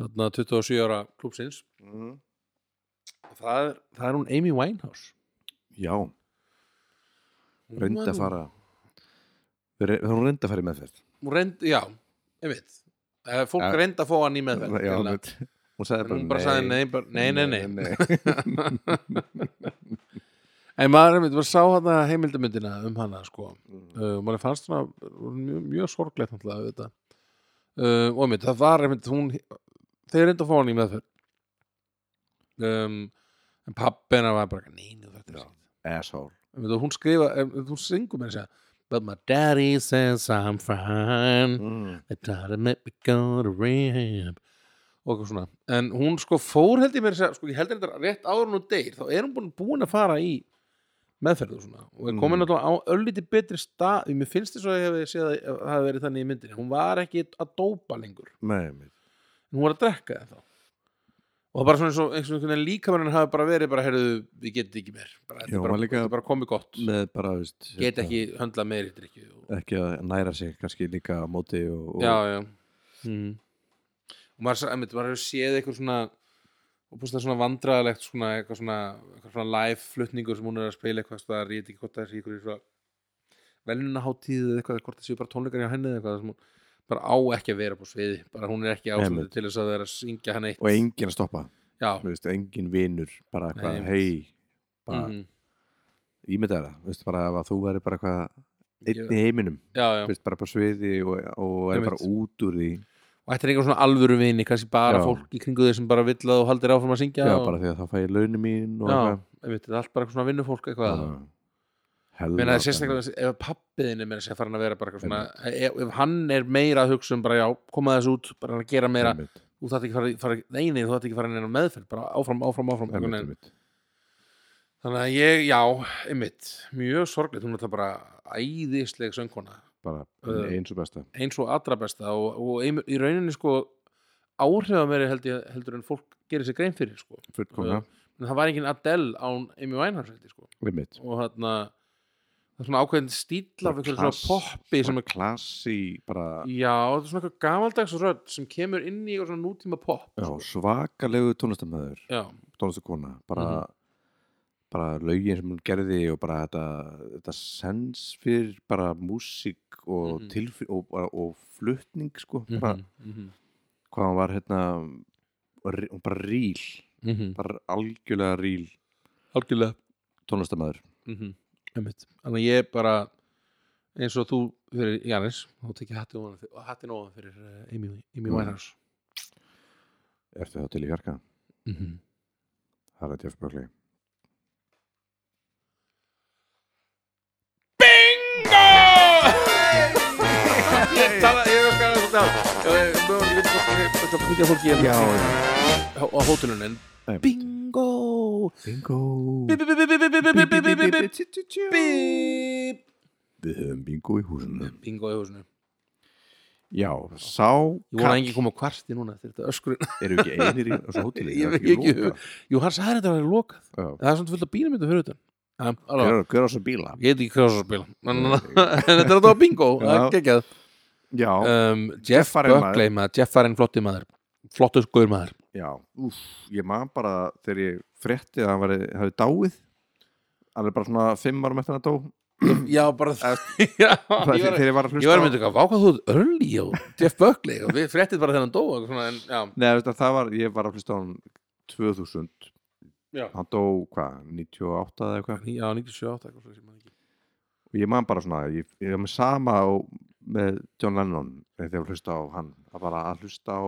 hérna, þarna 27 ára klúpsins Mhm. það er, það er hún Amy Winehouse
Já,
Hún
reyndi
var
að
nú-
fara Re- Hún reyndi að fara í meðferð
hún reyndi, já, einmitt Eh, fólk
Ja.
reyndi að fá hann í meðferð
Já,
greinilega.
mitt. Hún sagði
en
bara,
hún bara sagði nei, bara, nei, nei, nei,
nei.
en maður einmitt var sá hana heimildamyndina um hana sko,
Mhm.
uh, maður fannst hana mjög, mjög sorglegt náttúrulega við þetta uh, og einmitt, það var einmitt hún, þeir reyndu að fá hann í meðferð um, en pappi hennar var bara nei, nei, þetta er
Já.
sér
Asshole
einmitt, og hún skrifa, einmitt, hún syngur með þess að but my daddy says I'm fine
mm.
They try to make me go to rehab og eitthvað svona en hún sko fór held ég mér að segja, sko ég held þetta rétt áður en hún deyr þá er hún búin, búin að fara í meðferð og svona og er komin
Mhm.
náttúrulega á öllítið betri stað mér finnst þess að ég hef séð að að það hafi verið þannig í myndinni hún var ekki að dópa lengur
Nei, nei.
en hún var að drekka þetta og það bara svona eins og einhvern veginn líkamennin hafi bara verið bara, heyrðu, við getum ekki meir bara, þetta
Já,
er
hún
bara,
var líka-
þetta er bara komið gott
með bara, veist
get
hérna,
ekki höndla meiri drikju og...
ekki að næra sig kannski líka á móti og, og Mhm.
já, já mm. og maður, sá- einmitt, maður hefur séð eitthvað svona og búst það svona vandræðalegt svona, eitthvað svona, eitthvað svona live flutningur sem hún er að spila eitthvað staðar, ég veit ekki hvort það er eitthvað svona velunaháttíð eða eitthvað, hvort það séu bara tónleikar hjá henni eða eitthvað, það sem hún bara á ekki að vera upp á sviði, bara hún er ekki ástæðu
Einmitt.
til þess að vera að syngja hann eitt
og enginn að stoppa
já,
þú veist, enginn vinur bara eitthvað,
Nei,
hei bara mm.
mhm.
ímyndaði það, þú veist, bara ef að þú verður bara eitthvað
Ég-
einn í heiminum,
já, já
þú veist, bara på sviði og, og er
Einmitt.
bara út úr því já,
og þetta er einhver svona alvöru vini kannski bara
Já.
fólk í kringu þau sem bara vill að þú haldir áfram að syngja og,
bara því að þá fæ ég launin mín og
já, einmitt, þetta er allt bara eitthvað svona vinnufólk eitthvað
Já. Hella,
Meina, það er sérstaklega ef pappiðinni meira sér farin að vera bara eitthvað svona e, ef, ef hann er meira að hugsa um bara já, koma þessu út, bara að gera meira
einmitt,
þú þarft ekki fara, fara, nei, nei, þú þarft ekki fara neina meðferð bara áfram, áfram, áfram
einmitt,
einhvern veginn.
einmitt.
þannig að ég, já, einmitt mjög sorglegt, hún er það bara æðisleg söngkona
bara
Uh,
eins og besta
eins og allra besta og, og ein, í rauninni sko áhrifa meiri held ég, heldur en fólk gerir sér grein fyrir sko
fullkomna,
en það var engin Adele án Amy Winehouse held ég, sko.
einmitt
og þarna það er svona ákveðin stíl af
Bara
einhverju um svona
klass-
poppi sem er
klassi, bara
já, þetta er svona eitthvað gamaldags rödd sem kemur inn í eitthvað svona nútíma pop
já,
sko.
svakalegu tónlistamæður
já,
tónlistakona bara,
Mhm.
bara lögin sem hún gerði og bara þetta, þetta sens fyrir bara músík og,
Mhm.
mm og, og, og flutning sko, bara
Mhm, mhm,
hvað hún var hérna rí- hún bara ríl,
mhm.
bara algjörlega ríl
algjörlega
tónlistamæður
Mhm, einmitt. þannig að ég bara eins og þú fyrir Jannis þá tekið hattin ofan fyrir- hattinn ofan fyrir eh, Amy, Amy
Mm.
Winehouse
Ertu þá til í fjarka?
Mhm.
Það er Jeff Buckley
ég tala, ég er hérna. að skala þetta að hringja fólki hérna á á hótelunum en
Nei.
bingo
Bingo
Bip, bip, bip, bip, bip, bip, bip, bip, bip, bip, bip, bip.
Við höfum bingo í húsinu
bingo í húsinu
Já, sá
ég vona að enginn koma kvarti núna eftir þetta öskur
Eru ekki einir í þessu hóteli?
Ég
Er
veit ekki.
lokað?
jú, hann sagði þetta að það er lokað
Já.
það er svona fullt af bílum þetta fyrir utan Ja, alveg.
Hver- Hver á þessu bíla?
ég veit ekki hvað það er að spila en en þetta er að það bingo það er
Já.
geggjað
Já,
Um,
Jeff
Jeff
var einn
Buckley maður Jeff var einn flotti maður flottu skoður maður
já Úf, ég man bara þegar ég frétti að hann væri, hafi dáið alveg bara svona fimm árum eftir að hann dó
já, bara já,
Það-
ég var
þegar ég var að
Ég var
hlusta
að mynda eitthvað, vákað þú ert early og Jeff Buckley og við fréttið bara þegar hann dó og svona, en, já,
Nei, veist, að það var, ég var að hlusta á hann 2000
Já.
Hann dó, hvað, 98 eða eitthvað
já, 97 eitthvað svo sem maður ekki.
og ég man bara svona ég, ég er með sama á, með John Lennon þegar ég var að hlusta á hann að bara að hlusta á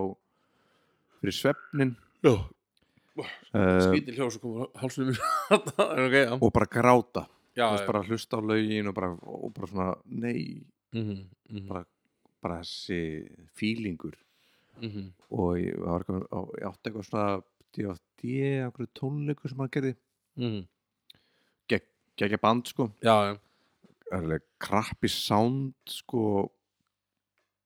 fyrir svefnin
Já,
uh,
skýtil hljós og komur hálsum mér en ok, já,
og bara gráta
já,
Þú veist,
já.
bara að hlusta á lögin og bara, og bara svona nei,
Mhm, mhm,
bara- bara þessi fílingur
mhm.
og ég, var eitthvað, og ég átti eitthvað svona D.O.D. einhverju tónleiku sem hann gerði
Mhm.
gegja band sko
já, já,
Erlega, krappi sound sko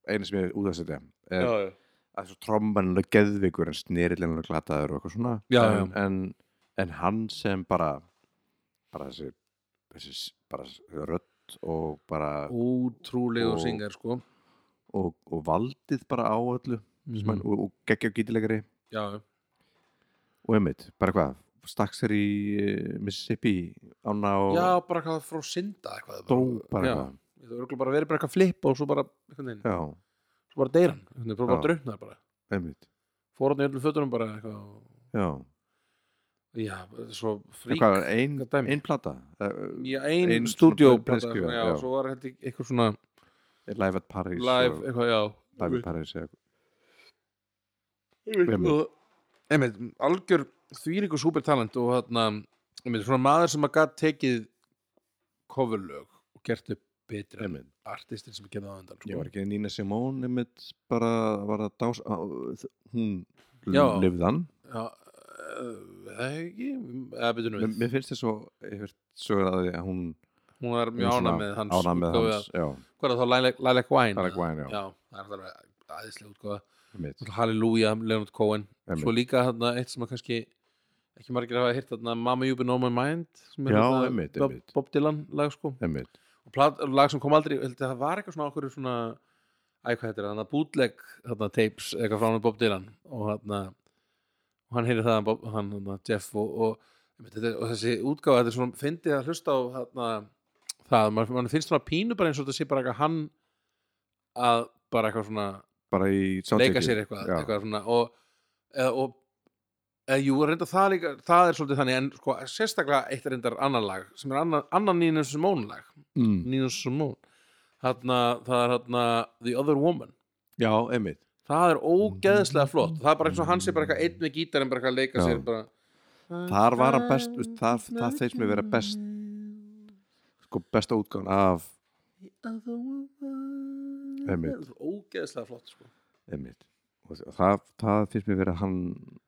einu sem ég er út að setja er
já, já.
að svo tromban er geðvikur en snerillin er glataður og eitthvað svona
Já,
en, En, en hann sem bara bara þessi, þessi s- bara s- rödd og bara
Ótrúlegur
Og-
syngar, sko
og, og valdið bara á öllu mm.
Mhm.
og, og geggja gítilegari
Já, já,
og einmitt, bara hvað stakk sér í eh, Mississippi ána og
já, bara hvað frá synda eitthvað
dó bara
já.
eitthvað
Það er bara verið bara eitthvað flip og svo bara, einhvern veginn,
já,
svo bara deyr hann einhvern veginn, bara, bara
Já.
drautnar bara
einmitt,
Fór hann í öllu fötunum bara eitthvað og-
já
Já, svo
En
frík
hvað, ein,
hvað dæmi?
ein plata Eh,
Já, ein, ein
Ein
stúdíó
svona
plata,
preskrifa,
já,
já.
svo var held ég eitthvað svona
Live at Paris
live,
og
eitthvað, já
Live at Paris eða
Einmitt. Og- einmitt, algjör þvílíku supertalent og þarna einmitt, svona maður sem að gat tekið coverlög og gert upp betra en
einmitt
artistin sem gerði það undan
Ég var
sko.
ekki Nína Simón einmitt bara var að dás á, þ- hún
Já.
lifðan
já, eh, það er ekki eða betur nú
Mér,
við
mér finnst þess að ég hef sögur að því að hún
hún var mjög
hún svona
ánað með hans
ánægð með
útgáfu
hans,
af-
já,
hvað er það þá Lilac- Lilac Wine
Lilac Wine, já.
já það er alltaf aðeinslega útgáða
mitt
Halleluja, Leonard Cohen
Einmitt.
svo líka þarna eitt sem að kannski ekki margir hafa hýrt þarna Mama You've Been On My Mind sem er
Já,
þarna
einmitt,
Bob,
einmitt.
Bob Dylan lag sko
Einmitt.
og plat, lag sem kom aldrei, ég held að það var eitthvað svona okkur svona, æ hvað heitir það, þannig að bootleg þarna tapes eitthvað frá hann Bob Dylan og þarna og hann heyri það, Bob, hann, þarna, Jeff og, og, einmitt, þetta, er- og þessi útgáfa þetta er svona, fyndið að hlusta á þarna það, mann man finnst svona pínu bara eins og þetta sé bara eitthvað hann að bara eitthvað svona
bara í
leika
soundtrackið.
sér eitthvað,
Já.
eitthvað svona, og, eða, og eða, jú, reynda það líka það er svolítið þannig, en sko, sérstaklega eitt reyndar annar lag, sem er annan, annan Nina Simone lag,
mm.
Nina Simone þarna, það er þarna The Other Woman,
já, einmitt
það er ógeðslega flott það er bara eins og hann sé bara eitthvað einn við gítar en bara eitthvað að leika
Mhm. Já.
sér bara
Þar var hann best- veist, það- það finnst mér vera best. sko besta útgáðan af
The Other Woman
Einmitt.
Það er ógeðslega flott sko.
einmitt og það, það finnst mér vera hann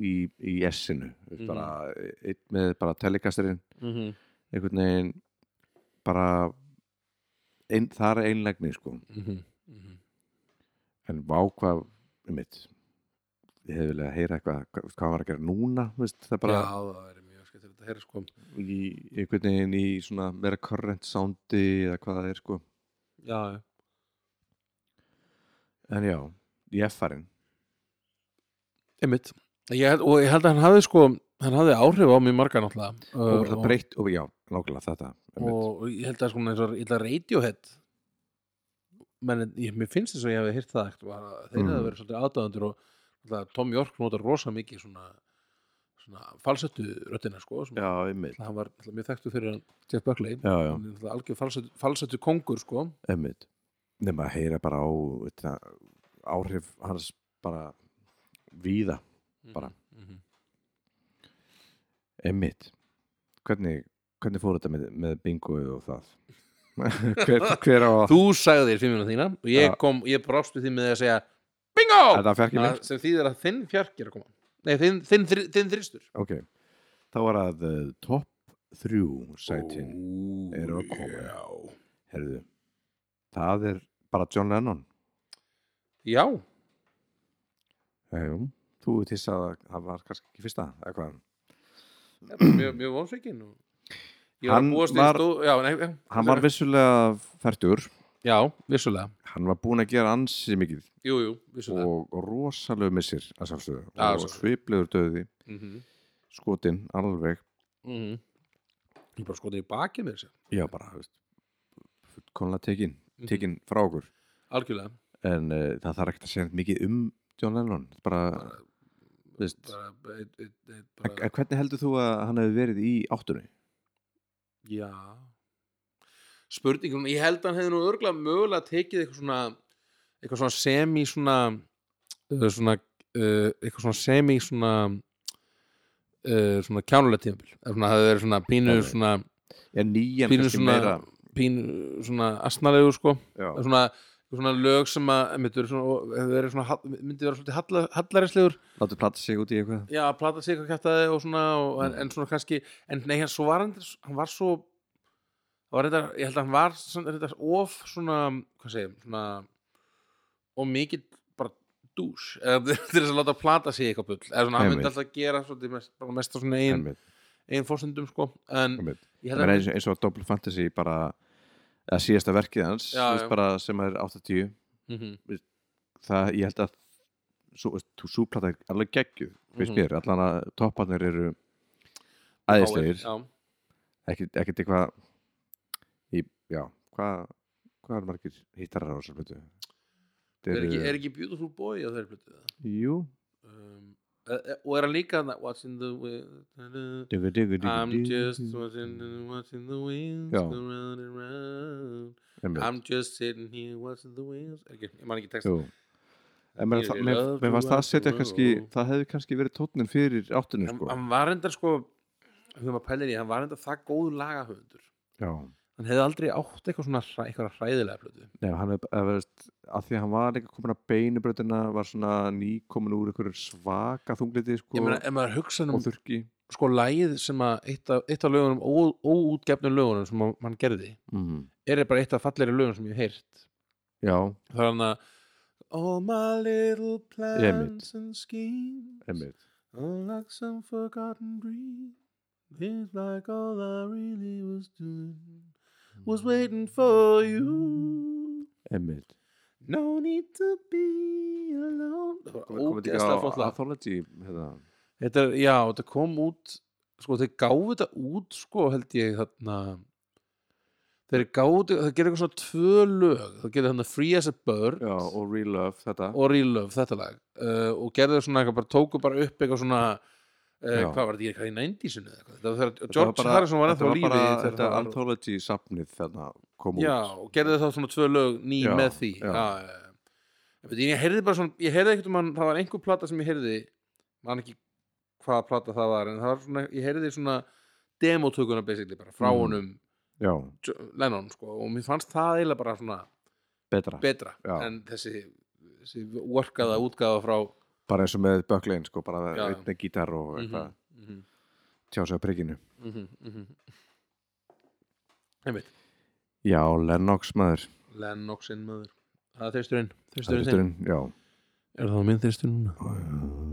í, í S-inu
Mhm.
mm. bara, einn með bara telekasturinn einhvern veginn bara ein, það er einlegni sko mhm. en vá hvað einmitt ég hefði viljað heyra eitthvað hvað, hvað hann var að gera núna þú veist, það er bara
Já, það er mjög skemmtilegt að heyra sko.
í, einhvern veginn í svona meira current soundi eða hvað það er sko
Já, já
en já, í F-farin
Einmitt. Ég, held- og ég held að hann hafði sko hann hafði áhrif á mjög marga náttúrulega
og
Uh,
það breytt, og já, nákvæmlega þetta
og,
einmitt.
og ég held að sko eins og ég held að Radiohead menn ég, mér finnst þess að ég hefði hýrt það ekkert var að þeir
Mm.
mm. hefði verið svolítið aðdáðandur og náttúrulega Tom York notar rosa mikið svona, svona falsettu röddina sko sem,
já, einmitt
náttúrulega hann var náttúrulega mjög þekktu fyrir hann Jeff Buckley
já, já,
Hann er náttúrulega algjör falsettu, falsettu kongur sko
einmitt nema að heyra bara á þetta, áhrif hans bara víða, Bara.
mm -hmm.
einmitt hvernig, hvernig fór þetta með, með bingoið og það hver, hver á að
Þú sagðir fimmina þína og ég
Já.
kom, ég brást við því með því að segja Bingo!
þetta fekk ég
að,
lengst
sem þýðir að þinn fjark er að koma nei, þinn, þinn, þinn, þinn þristur
ok, þá var að uh, top 3 sætin eru að koma.
já.
herðu, það er bara John Lennon
já,
Já, jú. þú ert hissa að það var kannski ekki fyrsta eða hvað
ég er bara mjög, mjög vonsveikin og... ég var
Hann
að búast
var-
var... Stó... já, nei, já,
hann var vissulega færtur
já, vissulega,
hann var búinn að gera ansi mikið
jú, jú, vissulega
og, og rosalegu missir að sjálfsögðu
Já,
og
sjálfsögðu.
sviplegur döði
mm -hmm.
skotinn alveg
Mhm. ég bara skoði í baki með þessu
já bara þú veist, fullkomlega tekin,
Mhm.
tekin frá okkur
algjörlega,
en uh, það þarf ekkert að segja neitt mikið um John Lennon bara,
Bara-
þú veist,
bara, eit, eit, eit,
bara,
bara...
hvernig heldur þú að hann hefði verið í áttunni
já spurningum, ég held að hann hefði nú örgulega mögulega tekið eitthvað svona eitthvað svona semi svona uh, svona uh, eitthvað svona semi svona uh, svona kjánulega tímabil eða svona það er svona pínu
Já, já.
svona
já nýjan
Pínu
kannski
svona-
meira
pínu svona asnalegu sko
já,
Það er svona svona lög sem að einmitt, eru svona, og hefur verið svona, hall- myndi vera svolítið halla, hallarislegur
láttu platta sig út í eitthvað
já, að plata sig eitthvað kjartaði og svona og, en,
Mm.
en svona kannski, en nei, hann, svo var hann, hann var svo hann var reyndar, ég held að hann var svona, reyndar, of svona, hvað segjum svona, og mikið bara dús, eða til þess að láta plata sig í eitthvað bull, eða svona, hann
Einmitt.
myndi alltaf gera svona, mest, bara mest á svona eigin,
einmitt,
eigin fórsendum, sko, en
einmitt. Ég
ég held að
meina eins, eins og Double Fantasy bara að síðasta verkið hans
Já,
þú veist,
já.
bara, sem er 80
Mhm,
það ég held að svo, þú súplata er alveg geggju finnst
Mhm.
mér, allan að topparnir eru
fáir,
æðislegir
já,
ekkert, ekkert eitthvað í, já, hvað hvað er margir hittarar á þessu plötu Þetta
er
eru-
ekki, er ekki Beautiful Boy á þeirri plötu, það
jú
um, e- e- og er hann líka þarna, What's in the wind
Dugu, dugu, dugu,
I'm
dugu.
just what's in, the- what's in the wind
Já.
around and round
Einmitt.
I'm just sitting here What's in the wind er ekki, Ég man ekki texta
Jú. En meina það-
Ég love
Mér
you
mér fannst það að
as
setja
well.
kannski það hefði kannski verið tótnin fyrir áttunum
hann,
sko
hann var enda sko Þegar maður pælir í, hann var enda það góð lagahöfundur
Já,
hann hefði aldrei átt eitthvað svona hræ- eitthvað hræðilega plötu
Nei, hann er, að, veist, að því að hann var líka komin að beinubröðina var svona nýkomin úr einhverju svaka þungliti sko,
ég meina, ef maður hugsa um
og þurki
sko lægið sem að eitt af, eitt af lögunum, ó, óútgefnum lögunum sem að hann gerði,
mm.
er bara eitt af fallegri lögunum sem ég hef heyrt
Já,
það er hann að All my little plans and schemes
einmitt
All like some forgotten dream It's like all I really was doing Was waiting for you
Einmitt
No need to be alone Það var
Komið þetta
ógeðslega
ekki á
flott lag
Anthology hérna.
Þetta er, já, þetta kom út sko, þeir gáfu þetta út sko, held ég þarna þeir gáfu þetta, það gerir eitthvað svona tvö lög, það gerir þarna Free as a Bird
Já, og Real Love þetta
og Real Love, þetta lag uh, og gerðu svona eitthvað, bara tóku bara upp eitthvað svona Uh,
Já.
hvað var þetta, ég er hvað í 90-sinu eða eitthvað Þetta var þegar
Þetta
George
bara-
Harrison var
þetta
ennþá á lífi
bara,
þegar
Þetta
það var-
Anthology safnið þarna kom
Já,
út
og gerði það svona tvö lög ný
Já,
með því
já.
Já, já, já. Ég veit, Ég heyrði bara svona, ég heyrði ekkert um hann það var einhver plata sem ég heyrði man ekki hvaða plata það var en það var svona, ég heyrði svona demotökuna basically bara frá
Mhm.
honum
Já,
Jo- Lennon sko og mér fannst það eiginlega bara svona
betra
betra
Já.
en þessi, þessi workaða útgáða frá
Bara eins og með Böcklein sko, bara
Já.
einnig gítar og
mhm,
eitthvað
mhm,
tjá sig á prigginu
mhm, mhm. einmitt
Já, Lennox maður
Lennoxinn maður það er þristurinn, þristurinn þinn
Þristurinn, Já,
er það minn þristur núna?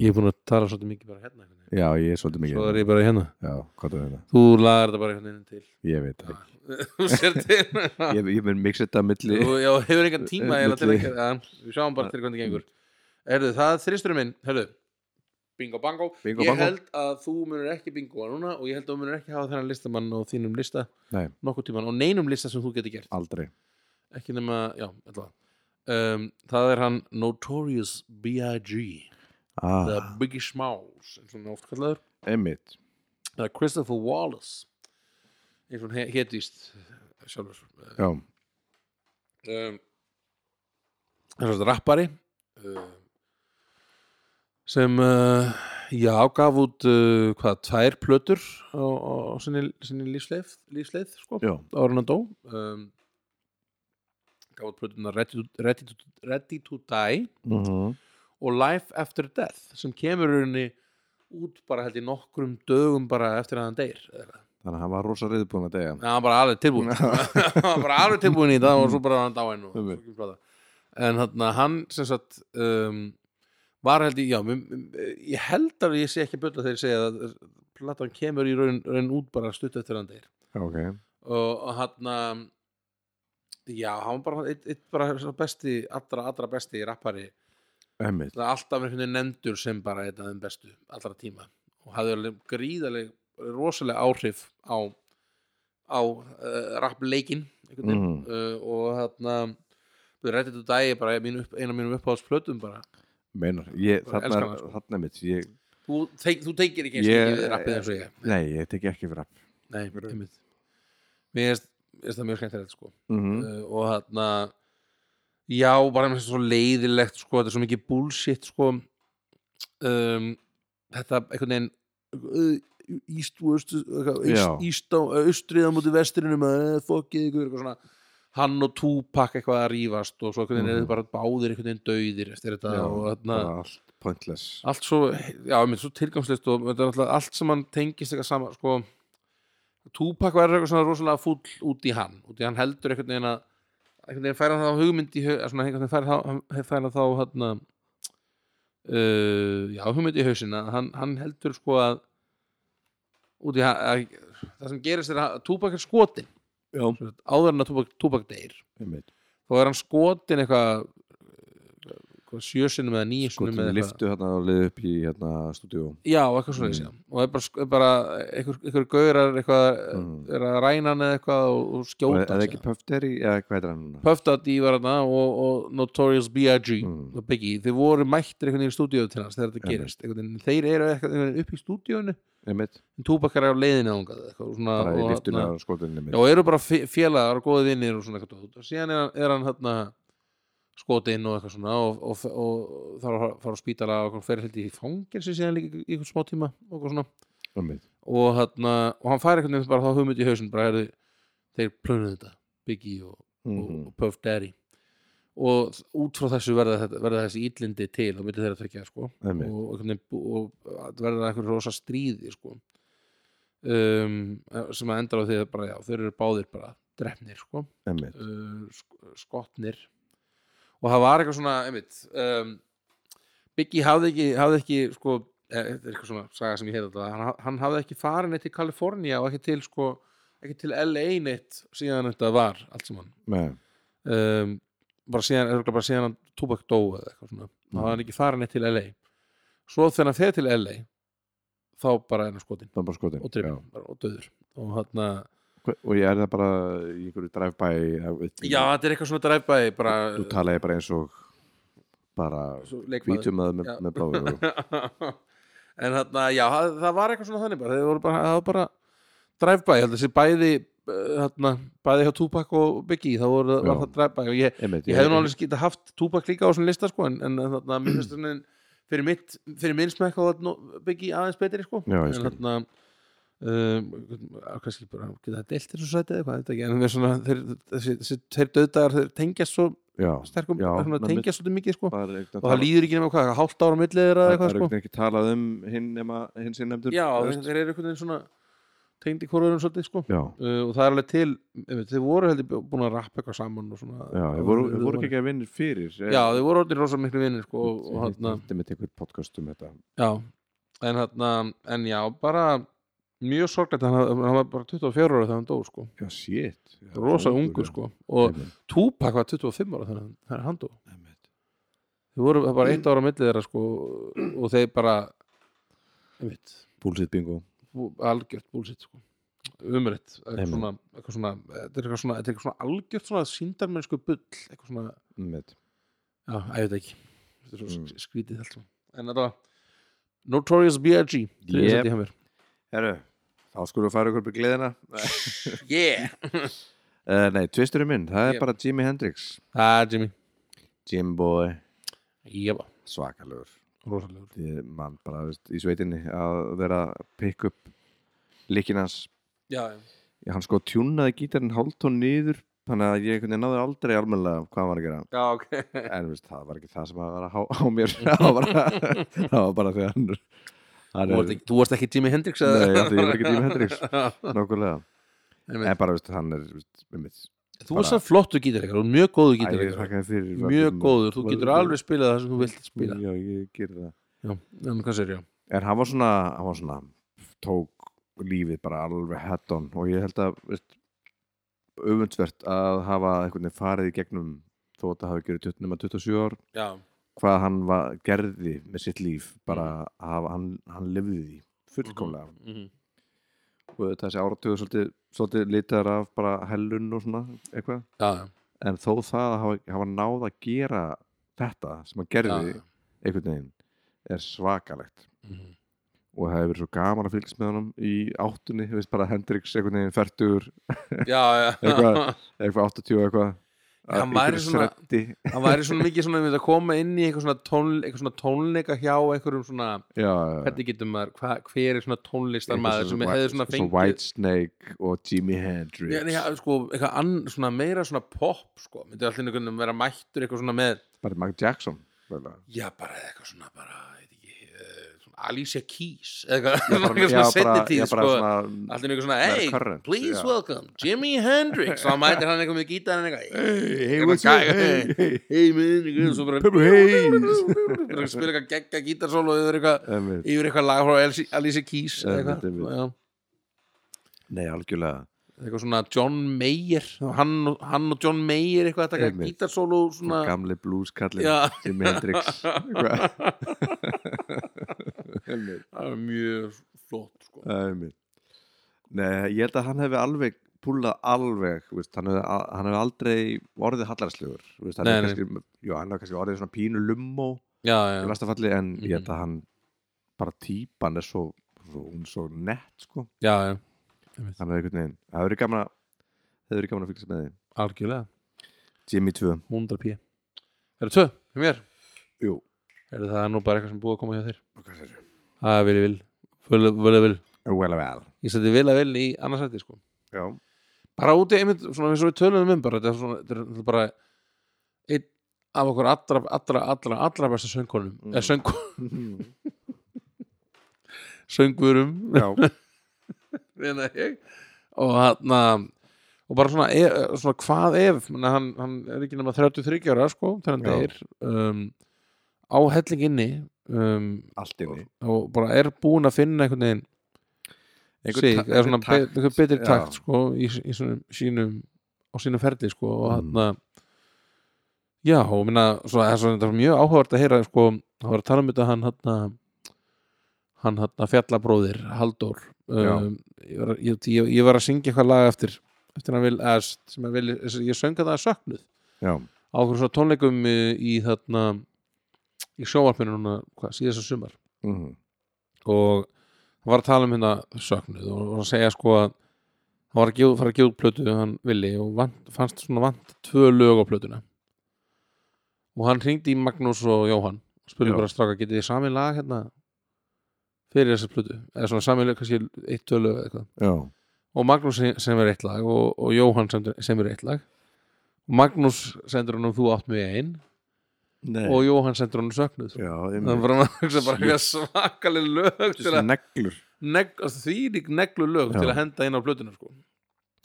ég er búin að tala svolítið mikið bara hérna einhvern veginn.
já, ég er svolítið mikið
svo er ég bara hérna
Já, hvað er þetta?
þú lagar þetta bara einhvern veginn til
Ég veit það
þú sér til
ekki Ég, ég mun mixa þetta á milli
þú já, hefur engan tíma eiginlega til að
Milli.
gera það. við sjáum bara til hvernig gengur herðu, það er þristurinn minn herðu, bingo bango
Bingo
ég
bango.
held að þú munur ekki bingoa núna og ég held að þú munur ekki hafa þennan listamann og þínum lista
Nei,
nokkuð tíman og neinum lista sem þú getur gert
aldrei
ekki nema, já, allavega um, það er hann Notorious B.I.G. The
ah,
Biggie Smalls eins og hann er oft kallaður
Einmitt
það er Christopher Wallace eins og hann hétist sjálfur
Já,
um, það er svona rappari um, sem uh, já, gaf út uh, hvað, tvær plötur á, á, á sinni, sinni lífsleif, lífsleif sko,
já,
ára hann dó um, gaf út plötuna Ready to, Ready, to, Ready to Die
mm
Mhm. og Life After Death sem kemur í rauninni út bara held í nokkrum dögum bara eftir að hann deyr eða eitthvað
þannig að hann var rosa reyðbúin að degja
Nei, hann var bara alveg tilbúin hann var bara alveg tilbúin í það og svo bara var hann dáinn og,
Einmitt.
svo plata. en hann, hann sem sagt um, var held í, já mér- mér- ég held að ég sé ekki að byrla þegar ég segja að platan kemur í raun, raun út bara stutt eftir hann deyr
Ok,
og, og hann já, hann var bara, eitt, eitt bara sá besti, allra, allra besti rappari
einmitt
það er alltaf einhvern veginn nefndur sem bara einn af þeim bestu allra tíma og hafði alveg gríðaleg rosaleg áhrif á á uh, rappleikin mm.
mm,
uh, og þarna við rættið þú dægi bara mín upp, eina mínum uppáðsplötum bara
Meinar, ég,
Bara elskar
þarna,
hann, sko.
þarna mitt ég,
þú, teik, þú teikir ekki eins
Ég-
mikið við rappið eins og ég
Nei, ég teki ekki fyrir app
nei, einmitt mér finnst- mér finnst það mjög skemmtilegt sko
mm,
uh, og þarna já, bara með svo leiðilegt sko, þetta er svo mikið bullshit sko um, þetta einhvern veginn uh, íst, östu,
Já.
íst, íst eh, á, austrið á móti eh, vestrinu með fokkið ykkur eitthvað svona hann og Tupac eitthvað að rífast og svo einhvern veginn
Mhm.
er þetta bara báðir einhvern veginn dauðir eftir þetta
Já,
og þarna
bara allt pointless
allt svo, já, mér svo tilgangslist og þetta er alltaf allt sem hann tengist eitthvað sama, sko Tupac verður eitthvað svona rosalega fúll út í hann út í hann heldur einhvern veginn að einhvern veginn færa þá hugmynd í hau- eða svona einhvern veginn færa þá, hann- færa þá hann uh, já, hugmynd í hausina hann, hann heldur sko að út í hann að, það sem gerist er að Tupac er skotin
Já,
áður en að Tupac, Tupac deyr
einmitt
þá er hann skotin eitthvað eitthvað sjö sinnum eða níu
Sko,
sinnum eða
þú
eitthvað
liftu hérna og liði upp í hérna stúdíu
Já, eitthvað svona
Mm.
mm. og það er bara, sk- er bara einhver, einhver gaurar eitthvað,
Mm.
er að ræna hann eða eitthvað og, og
Og
skjóta
eða ekki Puff Derry, eða hvað heitir hann núna?
Puffdaddy var hann og, og Notorious B.I.G.
Mm.
og Biggie, þeir voru mættir einhvern veginn í stúdíu til hans þegar þetta
Einmitt.
gerist einhvern veginn, þeir eru eitthvað einhvern veginn upp í stúdíunni
Einmitt,
en túbakar er á leiðinu ángað eitthvað, og svona,
bara í
og,
liftuna
þarna-
og skotinu
já, og eru bara fe- félagar og góði vinnir og svona eitthvað dót. og síðan er, hann- er hann þarna skotinn og eitthvað svona og, og, og, og þarf að fara- fara á spítala og fer held í fangelsi síðan líka í einhvern smá tíma og eitthvað svona
Einmitt,
og, þarna, og hann fær einhvern veginn bara þá hugmynd í hausinn bara, heyrðu, þeir plönuðu þetta Biggie og,
Mhm.
og Puff Daddy og út frá þessu verða, þetta, verða þessi ítlindi til og myndi þeirra tvekja sko
Einmitt.
og, og, hvernig- og, og verða einhver rosa stríði sko um, sem að endar á því að bara já, þeir eru báðir bara drefnir sko
Einmitt.
uh, sk- skotnir og það var eitthvað svona einmitt, um, Biggie hafði ekki, hafði ekki sko, eh, þetta er eitthvað svona saga sem ég heita þetta hann, hann hafði ekki farin neitt til Kalifornía og ekki til, sko, ekki til LA neitt síðan þetta var allt saman
Nei.
um, bara síðan, örugglega bara síðan hann Tupac dó eða eitthvað svona þá hafði hann ekki farin neitt til LA svo þegar hann þegar til LA þá bara er hann skotin
Það er bara skotin
og
Já.
drefin bara- og döður og hann
Hve- Og ég er það bara í einhverju drive-by eða-
já, þetta er eitthvað svona dræfbæði bara
Þú talaði bara eins og bara
svo leikmaður.
hvítum með, með,
Já.
með bláu augu.
en þarna, já, það, það var eitthvað svona þannig bara, þeir voru bara, það var bara drive-by, ég held að þessi bæði eh, þarna, bæði hjá Tupac og Biggie þá voru,
Já.
var það drive-by og ég,
Einmitt,
ég hefði nú alveg skýta haft Tupac líka á svona lista sko, en, en þarna, mér finnst þannig fyrir mitt, fyrir minn smekk á Biggie aðeins betri sko,
Já, ég
en
skil.
þarna Um, kannski bara geta það deilt þessu sæti eða eitthvað, ég veit ekki, en við svona þeir, þessi, þessi, þeir döðdagar, þeir tengjast svo
Já,
sterkum,
Já,
svona,
menn-
tengjast svolítið mikið sko,
það er ekkert að
og það
tala-
líður ekki nema hvað, hálft ára millið eða
það
eitthvað
er
sko
ekkert ekki talað um hinn nema hinn sinn nefndur
já,
þú
þeir,
veist.
þeir eru einhvern veginn svona tengd í korðurum svolítið sko
já,
uh, og það er alveg til, einmitt, þeir voru heldur búin að rappa eitthvað saman og svona
já ég voru, ég voru ekki að vinna fyrir
já, þeir voru orðin rosa miklu vinnir sko og, og
hann
hérna,
Þetta með tekur podcast um þetta
já en hérna, en já, bara mjög sorglætt, hann, hann var bara 24 ára þegar hann dó sko,
Já, shit Já,
rosa ungur sko og
Einmitt,
Tupac var 25 ára þegar hann- þegar hann dó
einmitt.
þeir voru það var bara eitt ára millið þeirra sko og þeir bara einmitt
Bullshit bingo
bú- algjört búlsitt sko. umrætt eitthvað
Einmitt.
svona, eitthvað svona, þetta er eitthvað svona, þetta er eitthvað svona algjört svona síndarmennsku bull eitthvað svona,
Einmitt.
já, að ég veit ekki þetta er svo
Mm.
mm. skrítið allt saman. en þetta var Notorious B.I.G.
Yep.
þriðja sæti hjá mér.
Herru, þá skulum við fara ykkur byrja gleðina
Yeah.
uh, Nei, tvisturinn minn, það er
Yep.
bara Jimi Hendrix
það er Jimmy
Jim boy,
ég var
svakalegur
rosalegur
Því mann bara veist, í sveitinni að vera að pick up likinn hans
já, já.
Já, hann sko tjúnaði gítarinn hálftón niður þannig að ég einhvern veginn náði aldrei almennilega hvað hann var að gera
já, ok
en veist, það var ekki það sem að vera á, á mér það var bara, það var bara þegar hann, hann
þú varst ekki, þú varst ekki Jimi Hendrix eða?
Nei, þetta er ekki tíma Hendrix Nákvæmlega
Einmitt.
En bara, veist, hann er veist, einmitt,
þú varst það flottu gítarleikar og mjög góðu
Æ, ég
gítarleikar
þakka þér fyrir
mjög góður, þú getur alveg spilað það sem þú vilt
spila
spila
Já, ég ger það
já, en hvað sér já
En hann var svona, hann var svona tók lífið bara alveg head-on og ég held að veist, öfundsvert að hafa einhvern veginn farið í gegnum þó að það hafi gerið 20 nema 27 ár
já,
hvað hann var, gerði með sitt líf bara að hafa, hann, hann lifði því fullkomlega
Mhm.
og þessi áratugur svolítið, svolítið litar af bara hellun og svona eitthvað
já, já
en þó það að hafa, hafa náð að gera þetta sem hann gerði
Já.
einhvern veginn er svakalegt
Mhm.
og það hefur verið svo gaman að fylgst með honum í áttunni, þú veist bara Hendrix einhvern veginn færtur,
já, já.
Eitthvað- eitthvað 80 eitthvað
Hann
Í
væri
einhverju
svona-
streddi.
hann væri svona mikið svona einmitt að koma inn í eitthvað svona, tónl, eitthvað svona tónleika hjá einhverjum svona,
já, já, já.
hvernig getur maður hva, hver er svona tónlistar maður sem hefði
Svo
svona fengið
Whitesnake og Jimi Hendrix
Já, nei, já, sko, eitthvað ann, svona meira svona pop sko, myndi allir einhvern veginn vera mættur eitthvað svona með,
bara Mark Jackson bara,
já bara eitthvað svona bara, ég veit ekki eh, svona Alicia Keys, eitthvað
bara,
eitthvað svona setni tíð,
já, bara
sko
svona,
allir einhvern svona,
meira
hey,
current,
please
já."
welcome Jimi Hendrix, þá mætir hann eitthvað með gítarinn eitthvað,
hey, hey,
Eitthvað
what's up,
gæ-
hey, hey,
hey man, eitthvað, svo bara
Purple Haze
Þeir eru að spila eitthvað geggja gítarsól og yfir eitthvað
Einmitt.
yfir eitthvað lag frá Elsi- Alicia Keys eða
Einmitt,
eitthvað
einmitt.
Já.
Nei, algjörlega
eitthvað svona John Mayer hann og, hann og John Mayer eitthvað að taka
Einmitt.
gítarsól og svona
Gamli blueskallin
Já.
Jimi Hendrix Eitthvað. Einmitt.
það er mjög flott sko.
Einmitt. Nei, ég held að hann hefði alveg púlað alveg þú veist, hann, hefði, al- hann hefði aldrei orðið hallarslegur þú veist, hann,
Nei,
hefði
nei.
kannski, jú, hann hefði kannski orðið svona pínu lummo
já,
í
já, Mhm.
versta falli, en ég held að hann bara típan er svo, svo hún er svo nett sko
já, já,
hann er einhvern veginn, það hefur verið gaman að það hefur verið gaman að fylgja með því
algjörlega
Jimmy 2
100 p er það tvö, hjá mér
Jú,
er það nú bara eitthvað sem er búið að koma hjá þér
hvað sér
það er vel vil, vel að vil
Oh, Well, well
ég seti vil að vil í annarsætti sko
Já,
bara úti einmitt, svona eins og við töluðum um bara, þetta er svona, þetta er náttúrulega bara einn af okkur allra, allra, allra, allra besta söngkonum,
Mm.
eða söng, söngvurum
já,
meina ég og hann og bara svona, e, svona hvað ef menna, hann, hann er ekki nema 33 ára sko, þegar hann
Já.
deyr um, á helling inni um,
allt inni
og bara er búin að finna einhvern veginn sig,
ta-
eða svona be,
takt,
einhver betri
já.
takt sko, í, í svona, sínum á sínum ferli sko, og
Mm.
hann já, og minna svona, það er svona, þetta er mjög áhugavert að heyra sko, það var að tala um þetta hann hann hann hann fjallabróðir Halldór
Já.
um, ég, var, ég, ég, ég var að syngja eitthvað lag eftir eftir hann vil, að, sem að vil ég sönga það að söknuð
já,
á okkur svona tónleikum í, í þarna í sjóvarpinu núna, hvað, síðasta sumar
mhm,
og hann var að tala um hérna söknuð og var að segja sko að hann var að gefa, fara að gefa út plötu hann villi og vant, fannst svona vant tvö lög á plötuna og hann hringdi í Magnús og Jóhann og spurði
Já.
bara straka, getið þið sami lag hérna fyrir þessa plötu eða svona sami lög, kannski eitt, tvö lög eða eitthvað
já,
og Magnús sem- semur eitt lag og, og Jóhann semur, semur eitt lag Magnús sendur hann um þú átt mig ein
nei
og Jóhann sendur hann um söknuð
já,
þannig
einmitt
var hann að hugsa bara eitthvað svakaleg lög til að
þessi neglur,
neg, því lík neglu lög
Já.
til að henda inn á blötuna sko.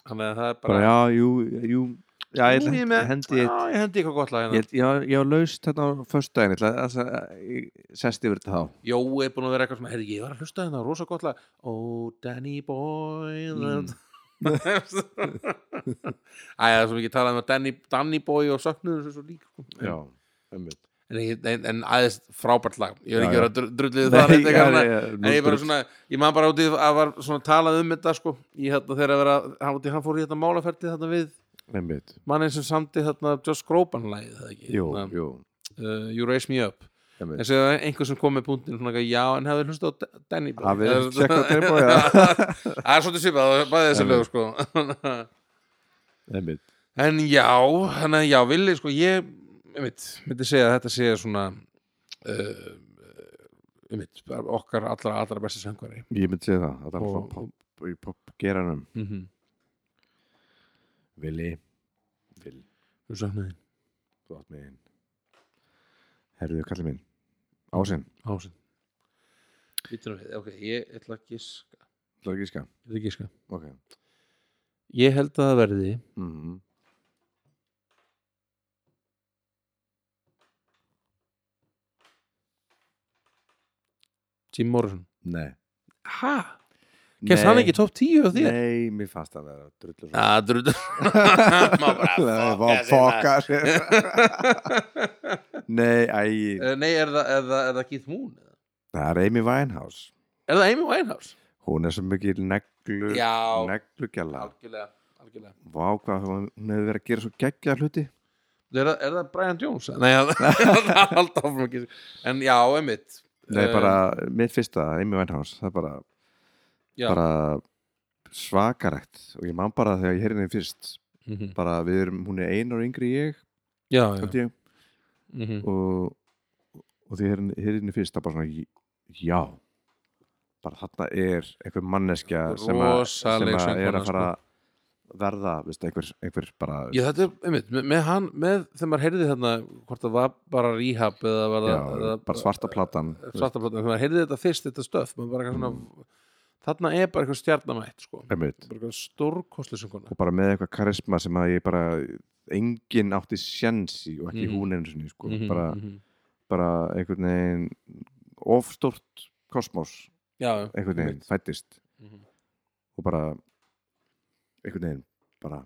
þannig að það er
bara
bara,
já, jú, jú já, ég
Nú er
ætla-
ég með-
hendi
já, ég hendi eitthvað gott lag
Ég,
hérna
ég, var- ég var laust hérna á föstudaginn, ég ætla að- að ég sest yfir þetta þá.
Jói er búin að vera eitthvað svona, heyrðu ég var að hlusta hérna, rosa gott lag Oh Danny boy
Mm.
mm. Æja, það er svo mikið talað um að Danny, Danny boy og söknuður svo, svo lík sko.
Já, einmitt.
en, ég- en, en aðeins frábært lag ég er
Já,
ekki
já.
verið að dru- drullið það neitt eitthvað annað.
ég,
En ég bara svona, ég man bara út í að var svona talað um þetta sko, ég hérna þegar að vera, hann, út í- hann fór í þetta málaferdi þarna við
Einmitt,
mannin sem samti þarna Josh Groban lagið það ekki
jú,
Þarna,
jú,
uh, You Raise Me Up
einmitt.
þessi var einhver sem kom með punktin svona eitthvað, já en hefði hlust á D- Danny Boy
Hafið
Eða-
tjekkað á Danny Boy, já.
það er svolítið svipað það er bæði þessi
Einmitt.
lög sko
Einmitt.
en já, hann að já villi sko ég, ég mitt, myndi segja að þetta sé svona uh, ég mitt, okkar allra allra besti söngvari
Ég myndi segja það, að það er
Og-
frá pop, í popgeranum.
mm -hmm.
Vili, vil, þú átt mig inn. Herruðu, kallið minn, ásinn,
ásinn Lítur við, ok, ég ætla að giska
þú er ekki skan,
Ég ætla að giska
ok.
Ég held að það verði
Mm -hmm.
Mhm. Jim Morrison
Nei.
Hæ? Kemst hann ekki topp 10 á þér?
Nei, mér fannst það að vera drullu.
Það drudur
Nei,
Má bara
bara
fokka
fokka sér. Nei, æ,
sér Eh, Nei, er það, er það, er það Keith Moon? eða?
það er Amy Winehouse.
Er það Amy Winehouse?
hún er svo mikið neglu
Já.
neglugjalla
Algjörlega, algjörlega
Vá, hvað, hún hún hefur verið að gera svo geggja hluti
Er það, er það Brian Jones? Nei, það er alltaf áfram ekki En já, einmitt
Nei,
Eh,
bara, mitt fyrsta, Amy Winehouse það er bara,
Já.
bara svakaregt og ég man bara þegar ég heyrði henni fyrst
Mhm.
bara við erum, hún er einar yngri en ég,
Já, já
held ég
Mhm.
og, og þegar ég heyrði henni- heyrði henni fyrst það bara svona, já bara þarna er einhver manneskja sem, að- sem
Rosaleg
að er
söngkona, sko.
að fara að verða, veist, einhver, einhver bara
Já, þetta er, einmitt, með, með hann, með þegar maður heyrði þarna hvort það var bara rehab eða
já,
var það eða-
bara svarta platan
svartaplata, þegar maður heyrði þetta fyrst þetta stöf, maður bara eitthvað svona þarna er bara eitthvað stjarnamætt sko. bara
einmitt
eitthvað stórkostlega sönguna
og bara með eitthvað karisma sem að ég bara enginn átti sjensi og ekki
Mhm.
hún einu sinni sko. bara, bara einhvern veginn ofstort kosmos
já, já,
einhvern veginn
einmitt.
fættist
Mhm.
og bara einhvern veginn bara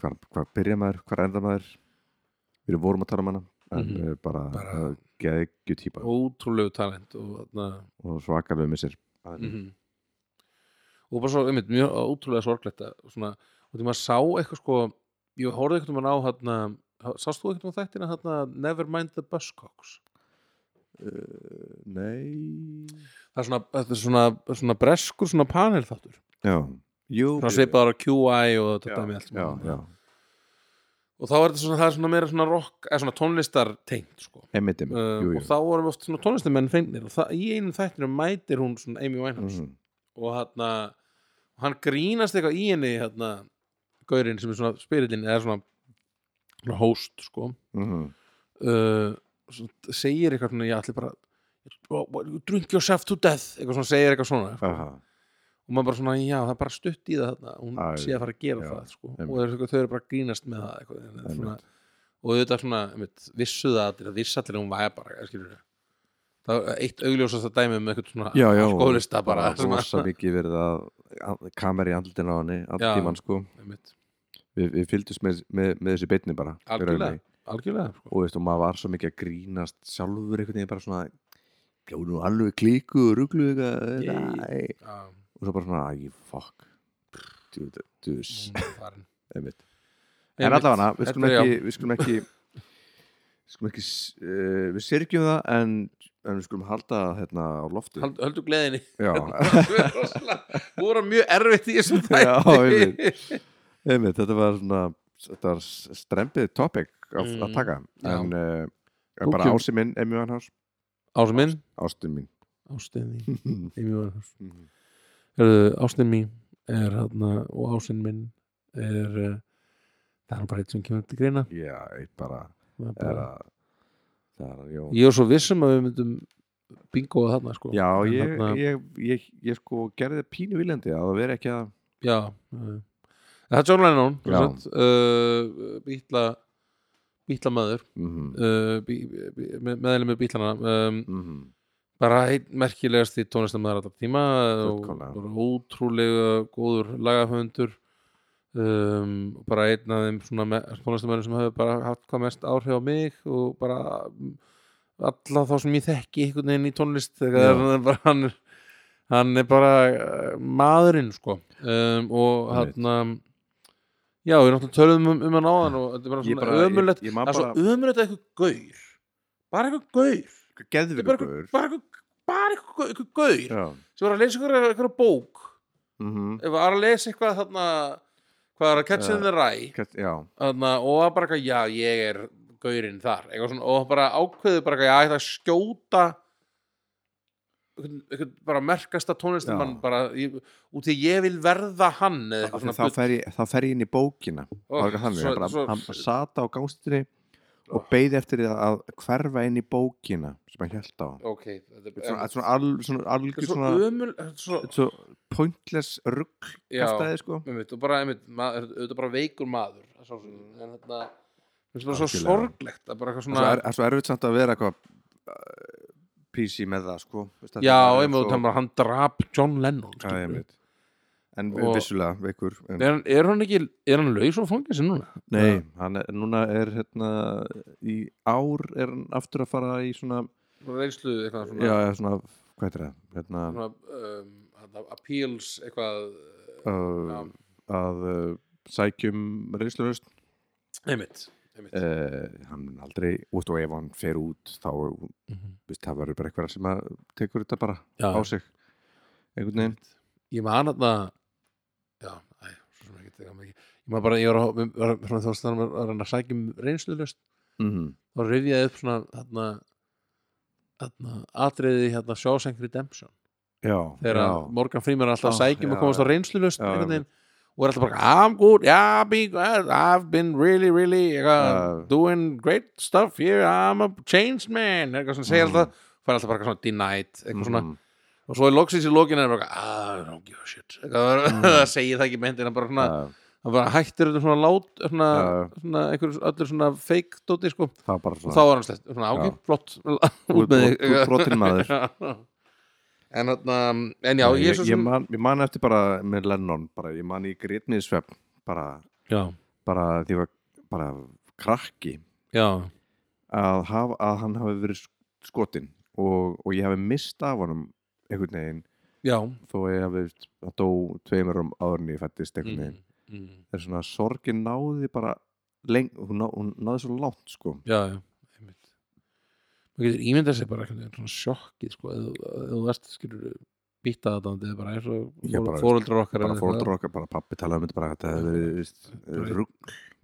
hvar, hvar byrja maður, hvar enda maður við vorum að tala um hana en mm
Mhm.
bara,
Bara-
bara geðgju típa
ótrúlegu talent og, þarna,
og svakalegu missir mm
mhm. og bara svo, einmitt, mjög ótrúlega sorglegt að svona, og því maður sá eitthvað sko ég horfði eitthvað mann á hérna sást þú eitthvað þættina hérna Nevermind the Buzzcocks
uh, Nei
það er svona, þetta er svona, svona breskur svona panel þáttur,
Já Jú
svona svipaðar á QI og
Já,
þetta dæmi allt
já,
saman.
já.
og þá er þetta svona, það er svona meira svona rock, eða svona tónlistar tengt sko.
Einmitt, einmitt,
um,
jú, jú.
og þá vorum oft svona tónlistamenn feignir og það, í einum þættinu mætir hún svona Amy Winehouse
Mhm.
og hann og hann grínast eitthvað í henni hérna, gaurinn sem er svona spyrillin eða svona, svona host sko
Mhm.
uh, svona, segir eitthvað svona ég ætli bara "Well, well, you drink yourself to death eitthvað svona, segir eitthvað svona
Aha.
og maður bara svona, já, það er bara stutt í það þarna hún
Æ,
sé að fara að gera
já,
það sko. og
einmitt.
þau eru, þau eru bara að grínast með það eitthvað, en þetta er svona,
Einmitt.
og auðvitað svona einmitt, vissu það allir, það vissu allir að hún væri bara skilur það var eitt augljósast að dæmi með eitthvað svona
Já, já,
skólista bara, sem að-
Sko, rosa mikið verið að að- kamera í andlutin á henni
Já.
allt tímann sko
einmitt,
við, við fylgdust með, með, með þessi beinni bara í
algjörlega
rauninni.
algjörlega, sko.
og veist, og maður var svo mikið að grínast sjálfur einhvern veginn bara svona já, nú alveg klíku og ruglu eitthvað
Ég-
nei.
Já,
og svo bara svona, æ, fuck dude, dude,
hún er farin.
einmitt
Mm. Einmitt.
en allavega, við
Þetta
skulum
er- já.
ekki við skulum ekki við skulum ekki, uh, við sirkjum það en, en við skulum halda það, hérna á loftu
Hald- höldu gleðinni
já,
Við erum rosalega- vorum mjög erfitt í þessum
já, einmitt,
þætti
einmitt þetta var svona þetta var strempið topic að,
Mm,
að taka
já.
en uh,
Þú
bara
kemur-
ási minn, Emi Vanhás
Ásum minn
ástin mín
Ástin mín Amy Winehouse.
Mhm.
Herðu, Ástin mín er hérna og ástin minn er eh, það er nú bara eitt sem kemur til greina
já, ég bara
Það er
er
bara-
að það er að jón
Ég er svo vissum að við myndum bingoða þarna sko
já,
En
ég,
þarna-
ég, ég, ég sko gerði það pínu viljandi að það veri ekki að
Já eh. Það er John Lennon
Já.
uh, Bítla Bítla maður
mhm,
uh, bí, bí, meðlega með bítlana um,
mhm,
bara einn merkilegasti tónlistamæður alltaf tíma og
Fullkomlega.
bara ótrúlega góður lagaföndur um, og bara einn af þeim svona me- tónlistamæður sem hefur bara haft hvað mest áhrif á mig og bara mm, alla þá sem ég þekki einhvern veginn í tónlist þegar
Já.
hann er bara hann, hann er bara eh, maðurinn sko um, og
Einmitt.
hann já, við náttúrulega töluðum um, um hann áðan og þetta er bara
Ég
svona
bara- ég-
ömurlegt
ég man
það er
bara-
svo ömurlegt að eitthvað gaur bara eitthvað gaur Þetta er bara
geðvigur
einhver- bara einhver- bara einhver einhver gaur
já,
sem var að lesa einhverja einhver bók
mhm
Ef var að lesa eitthvað þarna hvað er að catch in the rye
Hvert- Já,
þarna, og var bara eitthvað, já ég er gaurinn þar, eitthvað svona, og bara ákveðu bara eitthvað, já ég ætla að skjóta einhvern- einhvern bara merkasta tónlistamann
Já.
bara í, út í ég vil verða hann eða
af því
eitthvað svona
þá
bull.
fer, ég, þá fer ég inn í bókina
Ó,
oh, hann,
svo-
svo, bara,
svo-
hann bara sat á gangstinni og beið eftir því að hverfa inn í bókina sem hann held á
ok, þetta er
svona, svona, al, svona
þetta er
algjör
svo
svona,
ömul þetta er svo,
svo pointless rugg
já,
kastæði sko
einmitt, og bara, einmitt, maður, auðvitað bara veikur maður að sjálfsögðu, en þetta finnst bara svo
Algjörlega.
sorglegt að bara eitthvað
það
svona
er, það er svo erfitt samt að vera eitthvað uh, PC með það sko Vist,
já, einmitt, og þannig að hann drap John Lennon
Já,
skilurðu.
einmitt. en
Og-
vissulega veikur en,
er, hann- er hann ekki, er hann laus á fangins núna?
nei, hann er, núna er hérna í ár er hann aftur að fara í svona
Svona reynslu eitthvað
já,
svona,
eða svona, hvað er það hérna,
svona um, hérna, appeals eitthvað já.
uh, að uh, sækjum reynslunust
einmitt, einmitt.
uh, hann mun aldrei, út og ef hann fer út þá,
Mhm.
veist, það verður bara eitthvað sem að tekur þetta bara
Já.
á sig einhvern veginn
ég man að já, æ, svo sem ekki teka mikið ég man bara, ég var, að- var, var svona, þú veist, þannig að hann að sækja um reynslulust
mm -hmm.
þá rifjaði upp svona hérna, hérna, atriði hérna Shawshank Redemption
já,
þegar
já,
að Morgan Freeman er alltaf að
Já,
sækjum
já,
að komast á
já.
reynslulust
Já,
einhvern
já.
veginn og er alltaf bara I'm good, yeah, be good, I've been really, really eitthvað,
Já.
doing great stuff here, I'm a changed man eitthvað svona, segir
Mhm.
alltaf, fær alltaf bara eitthvað svona denied, eitthvað svona,
mhm,
og svo er loksins í lokinu er bara, ah, I don't give a shit
Mm.
eitthvað, það segir það ekki með hendina, bara svona
það-
hann bara hættir þetta svona lát svona,
Já, já.
svona, einhver, allir svona fake dóti, sko
það var bara svona
og þá var hann slett, svona
Já.
ákveð, flott út með
Þú- þú-
þig
brotinn maður
Já. en, þarna, en já,
Nei,
ég er
ég,
svo
ég,
sem
man, ég man eftir bara með Lennon bara, ég man í grétmiðsvefn bara,
já,
bara því var bara krakki
já,
að, hafa, að hann hafi verið sk- skotinn og, og ég hafi mist af honum einhvern veginn
já
þó ég hafi að dó tveimur um áðurinn ég fættist einhvern veginn
mm, mm,
það er svona að sorgin náði bara leng, hún, ná, hún náði svo langt sko
já, já, einmitt maður getur ímyndað sér bara einhvern veginn svona sjokkið, sko, eða eða þú verðst skilur býta þetta, þetta er bara eins
Já,
og
bara-
fóreldrar okkar
bara fóreldur okkar, bara pappi talaði um þetta bara að þetta hefði verið veist,
Bara-
rugg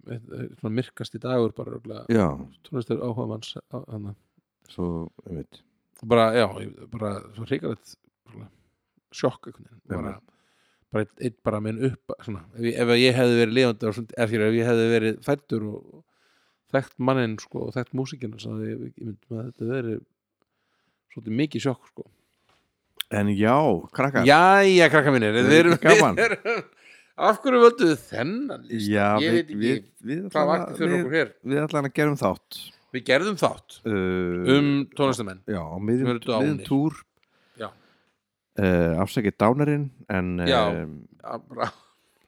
okkar svona myrkast í dagur bara örugglega.
já,
tónlistar áhuga manns hana.
svo, ég veit
bara, já, ég- bara svo hrikalegt sjokk einhvern veginn bara, bara einn einn bara minn upp svona, ef, ég, ef ég hefði verið lifandi á svona- eða fyrir, ef ég hefði verið fættur og þekkt manninn sko, og þekkt músikina þannig að ég, ég myndi maður að þetta verið svolítið mikið sjokk sko.
En já, krakkar
Jæja, krakka mínir,
Það er
við erum,
ekki gaman.
við erum af hverju völdu við þennan lista?
Já,
ég veit
við,
ekki
við, við,
Hvað
allan
vakti
að-
fyrir
við,
okkur hér?
við allan að gerum þátt
Við gerðum þátt
uh,
um tónlistamenn
Já, á
Sem
miðjum,
eru dánir.
miðjum túr
Já.
Uh, afsækið dánarinn en,
Já.
eh,
Já, bara-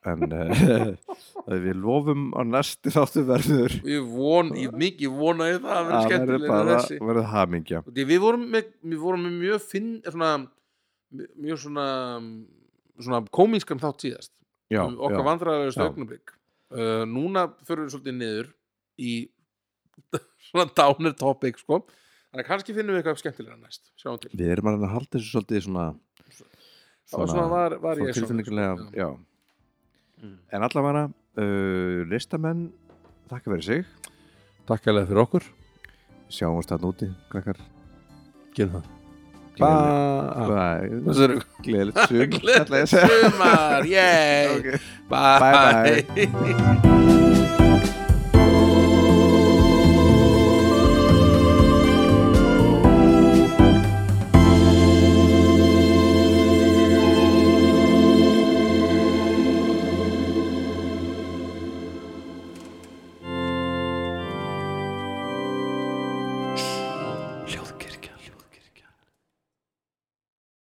en uh, við lofum að næsti þáttu verður
Ég von, ég mikið vona ég það að
að
vera
verður
skemmtilega
bara
þessi
verður hamingja
Og því Við vorum með, við vorum með mjög finn svona, mjög svona svona komískan þátt síðast
já,
um okkar
já.
vandræðalegust
Já.
augnablik uh, Núna förum við svolítið niður í svona downer topic sko Þannig að kannski finnum við eitthvað skemmtilega næst Sjáum til
við erum að reyna að halda þessu svolítið svona
Svona, svona var, var
svona
ég svona,
tilfinningulega
sko,
já.
Mm.
en allavega uh, listamenn þakka fyrir sig
Takk alveg fyrir okkur
sjáumst þarna úti krakkar
Gerum það Bye
Gleðilegt-
Þessu eru
Bye. gleðilegt sum ætla ég að segja.
Sumar, yay
Ok.
Bye
Bye,
bye